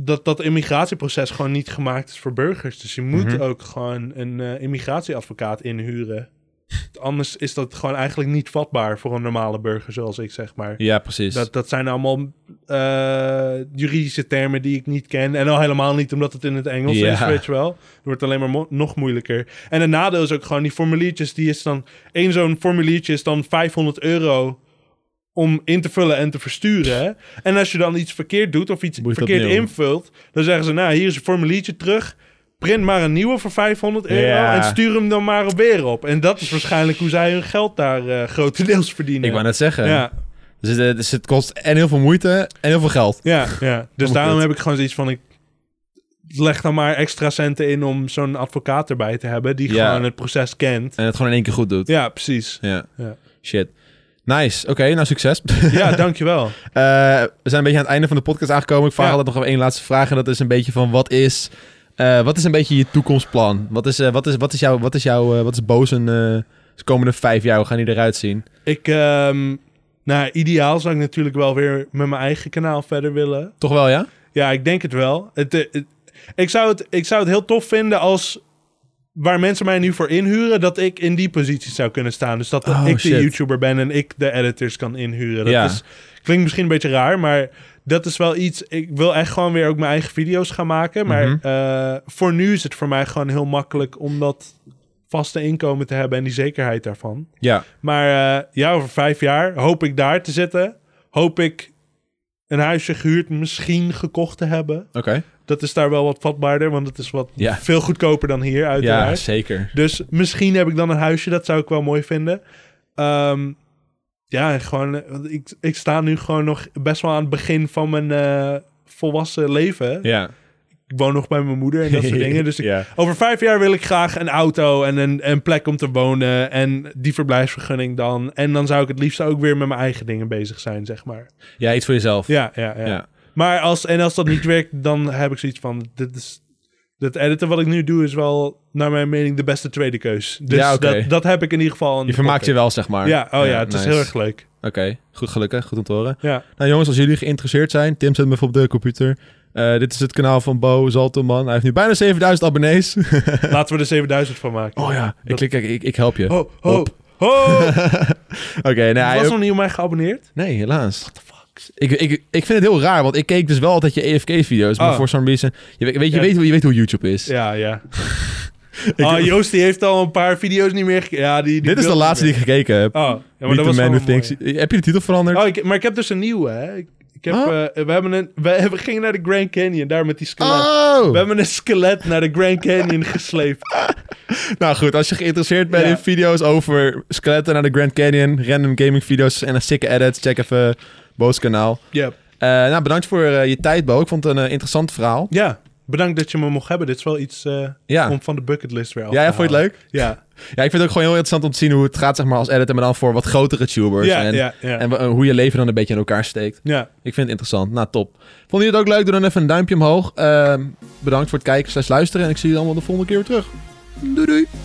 [SPEAKER 2] dat dat immigratieproces gewoon niet gemaakt is voor burgers. Dus je moet
[SPEAKER 1] Mhm.
[SPEAKER 2] ook gewoon een eh, immigratieadvocaat inhuren. Anders is dat gewoon eigenlijk niet vatbaar voor een normale burger, zoals ik zeg maar.
[SPEAKER 1] Ja, precies.
[SPEAKER 2] Dat, dat zijn allemaal eh, juridische termen die ik niet ken. En al helemaal niet omdat het in het Engels
[SPEAKER 1] Ja.
[SPEAKER 2] is, weet je wel. Het wordt alleen maar mo- nog moeilijker. En het nadeel is ook gewoon die formuliertjes. Die is dan, één zo'n formuliertje is dan 500 euro om in te vullen en te versturen. En als je dan iets verkeerd doet of iets
[SPEAKER 1] Moet je dat
[SPEAKER 2] verkeerd
[SPEAKER 1] opnieuw doen.
[SPEAKER 2] invult... dan zeggen ze, nou, hier is een formuliertje terug... Print maar een nieuwe voor 500 euro
[SPEAKER 1] Ja.
[SPEAKER 2] en stuur hem dan maar weer op. En dat is waarschijnlijk hoe zij hun geld daar eh, grotendeels verdienen.
[SPEAKER 1] ik wou net zeggen.
[SPEAKER 2] ja,
[SPEAKER 1] Dus, het, eh, dus het kost en heel veel moeite en heel veel geld.
[SPEAKER 2] Ja, ja. dus
[SPEAKER 1] goed.
[SPEAKER 2] daarom heb ik gewoon zoiets van... Ik leg dan maar extra centen in om zo'n advocaat erbij te hebben... die
[SPEAKER 1] Ja.
[SPEAKER 2] gewoon het proces kent.
[SPEAKER 1] En het gewoon in één keer goed doet.
[SPEAKER 2] Ja, precies.
[SPEAKER 1] Ja.
[SPEAKER 2] Ja.
[SPEAKER 1] Shit. Nice. Oké, nou succes.
[SPEAKER 2] Ja, dankjewel.
[SPEAKER 1] Eh, we zijn een beetje aan het einde van de podcast aangekomen. Ik vraag
[SPEAKER 2] Ja.
[SPEAKER 1] altijd nog even één laatste vraag. En dat is een beetje van wat is, eh, wat is een beetje je toekomstplan? Wat is, eh, wat is, wat is jouw, wat is jouw, eh, wat is Bozen de komende vijf jaar? Hoe gaan die eruit zien?
[SPEAKER 2] Ik, ehm, nou, ideaal zou ik natuurlijk wel weer met mijn eigen kanaal verder willen.
[SPEAKER 1] Toch wel, ja?
[SPEAKER 2] Ja, ik denk het wel. Het, eh, het- ik, zou het, ik zou het heel tof vinden als... waar mensen mij nu voor inhuren... dat ik in die positie zou kunnen staan. Dus dat
[SPEAKER 1] Oh,
[SPEAKER 2] ik
[SPEAKER 1] shit.
[SPEAKER 2] de YouTuber ben en ik de editors kan inhuren. Dat
[SPEAKER 1] Ja.
[SPEAKER 2] is, klinkt misschien een beetje raar, maar... Dat is wel iets. Ik wil echt gewoon weer ook mijn eigen video's gaan maken. Maar
[SPEAKER 1] Mhm.
[SPEAKER 2] eh, voor nu is het voor mij gewoon heel makkelijk om dat vaste inkomen te hebben en die zekerheid daarvan.
[SPEAKER 1] Ja.
[SPEAKER 2] Maar eh, ja, over vijf jaar hoop ik daar te zitten. Hoop ik een huisje gehuurd, misschien gekocht te hebben.
[SPEAKER 1] Oké.
[SPEAKER 2] Dat is daar wel wat vatbaarder, want het is wat
[SPEAKER 1] Ja.
[SPEAKER 2] veel goedkoper dan hier,
[SPEAKER 1] Ja,
[SPEAKER 2] uiteraard.
[SPEAKER 1] zeker.
[SPEAKER 2] Dus misschien heb ik dan een huisje, dat zou ik wel mooi vinden. Ehm, ja, en gewoon, eh, want ik, ik sta nu gewoon nog best wel aan het begin van mijn eh, volwassen leven.
[SPEAKER 1] Ja.
[SPEAKER 2] Ik woon nog bij mijn moeder en dat soort dingen. Dus ik,
[SPEAKER 1] ja.
[SPEAKER 2] over vijf jaar wil ik graag een auto en een, een plek om te wonen. En die verblijfsvergunning dan. En dan zou ik het liefst ook weer met mijn eigen dingen bezig zijn, zeg maar.
[SPEAKER 1] ja, iets voor jezelf.
[SPEAKER 2] Ja, ja, ja.
[SPEAKER 1] Ja.
[SPEAKER 2] Maar als, en als dat niet werkt, dan heb ik zoiets van... Dit is, dat editen wat ik nu doe is wel, naar mijn mening, de beste tweede keus. Dus
[SPEAKER 1] Ja, oké.
[SPEAKER 2] dat, dat heb ik in ieder geval... aan
[SPEAKER 1] Je
[SPEAKER 2] de
[SPEAKER 1] vermaakt je
[SPEAKER 2] pocket.
[SPEAKER 1] wel, zeg maar.
[SPEAKER 2] Ja, oh ja, het is
[SPEAKER 1] nice.
[SPEAKER 2] heel erg leuk.
[SPEAKER 1] Oké, goed gelukkig. Goed om te horen.
[SPEAKER 2] Ja,
[SPEAKER 1] Nou jongens, als jullie geïnteresseerd zijn, Tim zet me even op de computer. Eh, dit is het kanaal van Bo Zalteman. Hij heeft nu bijna 7000 abonnees.
[SPEAKER 2] laten we er 7000 van maken.
[SPEAKER 1] oh ja, ik,
[SPEAKER 2] Dat-
[SPEAKER 1] klik, ik, ik help je.
[SPEAKER 2] Ho, ho, ho!
[SPEAKER 1] Oké, nou, hij-
[SPEAKER 2] was nog niet op mij geabonneerd?
[SPEAKER 1] nee, helaas. What the fuck? Ik, ik, ik vind het heel raar, want ik keek dus wel altijd je EFK-video's. Maar
[SPEAKER 2] Oh.
[SPEAKER 1] voor some reason... Je, weet- weet, je,
[SPEAKER 2] Ja.
[SPEAKER 1] weet, hoe- je weet hoe YouTube is.
[SPEAKER 2] Ja, ja.
[SPEAKER 1] Ik-
[SPEAKER 2] oh, Joost die heeft al een paar video's niet meer... ge- Ja, die, die
[SPEAKER 1] dit is de
[SPEAKER 2] wil
[SPEAKER 1] laatste
[SPEAKER 2] niet
[SPEAKER 1] die ik gekeken heb.
[SPEAKER 2] meer. Oh, ja,
[SPEAKER 1] Meet
[SPEAKER 2] maar dat
[SPEAKER 1] the
[SPEAKER 2] was
[SPEAKER 1] man
[SPEAKER 2] wel
[SPEAKER 1] who
[SPEAKER 2] een mooie.
[SPEAKER 1] thinks- Heb je de titel veranderd?
[SPEAKER 2] Oh, ik, maar ik heb dus een nieuwe, hè. Ik, ik heb,
[SPEAKER 1] Huh?
[SPEAKER 2] eh, we, hebben een, we, hebben- gingen naar de Grand Canyon, daar met die skelet.
[SPEAKER 1] Oh!
[SPEAKER 2] We hebben een skelet naar de Grand Canyon gesleept.
[SPEAKER 1] Nou goed, als je geïnteresseerd bent
[SPEAKER 2] Ja.
[SPEAKER 1] in video's over skeletten naar de Grand Canyon, random gaming video's en een sikke edits, check even Bo's kanaal.
[SPEAKER 2] Yep.
[SPEAKER 1] Eh, Eh, nou, bedankt voor eh, je tijd, Bo. Ik vond het een eh, interessant verhaal.
[SPEAKER 2] Ja, bedankt dat je me mocht hebben. Dit is wel iets eh,
[SPEAKER 1] Ja.
[SPEAKER 2] om van de bucketlist weer af
[SPEAKER 1] Ja, ja,
[SPEAKER 2] te
[SPEAKER 1] vond je het
[SPEAKER 2] halen.
[SPEAKER 1] leuk?
[SPEAKER 2] Ja,
[SPEAKER 1] Ja, ik vind het ook gewoon heel interessant om te zien hoe het gaat zeg maar, als editor, maar dan voor wat grotere tubers.
[SPEAKER 2] ja,
[SPEAKER 1] en
[SPEAKER 2] ja, ja.
[SPEAKER 1] en wa- hoe je leven dan een beetje in elkaar steekt.
[SPEAKER 2] ja.
[SPEAKER 1] Ik vind het interessant. Nou, top. Vonden jullie het ook leuk? Doe dan even een duimpje omhoog. Ehm, bedankt voor het kijken slash luisteren. En ik zie jullie allemaal de volgende keer weer terug. Doei doei.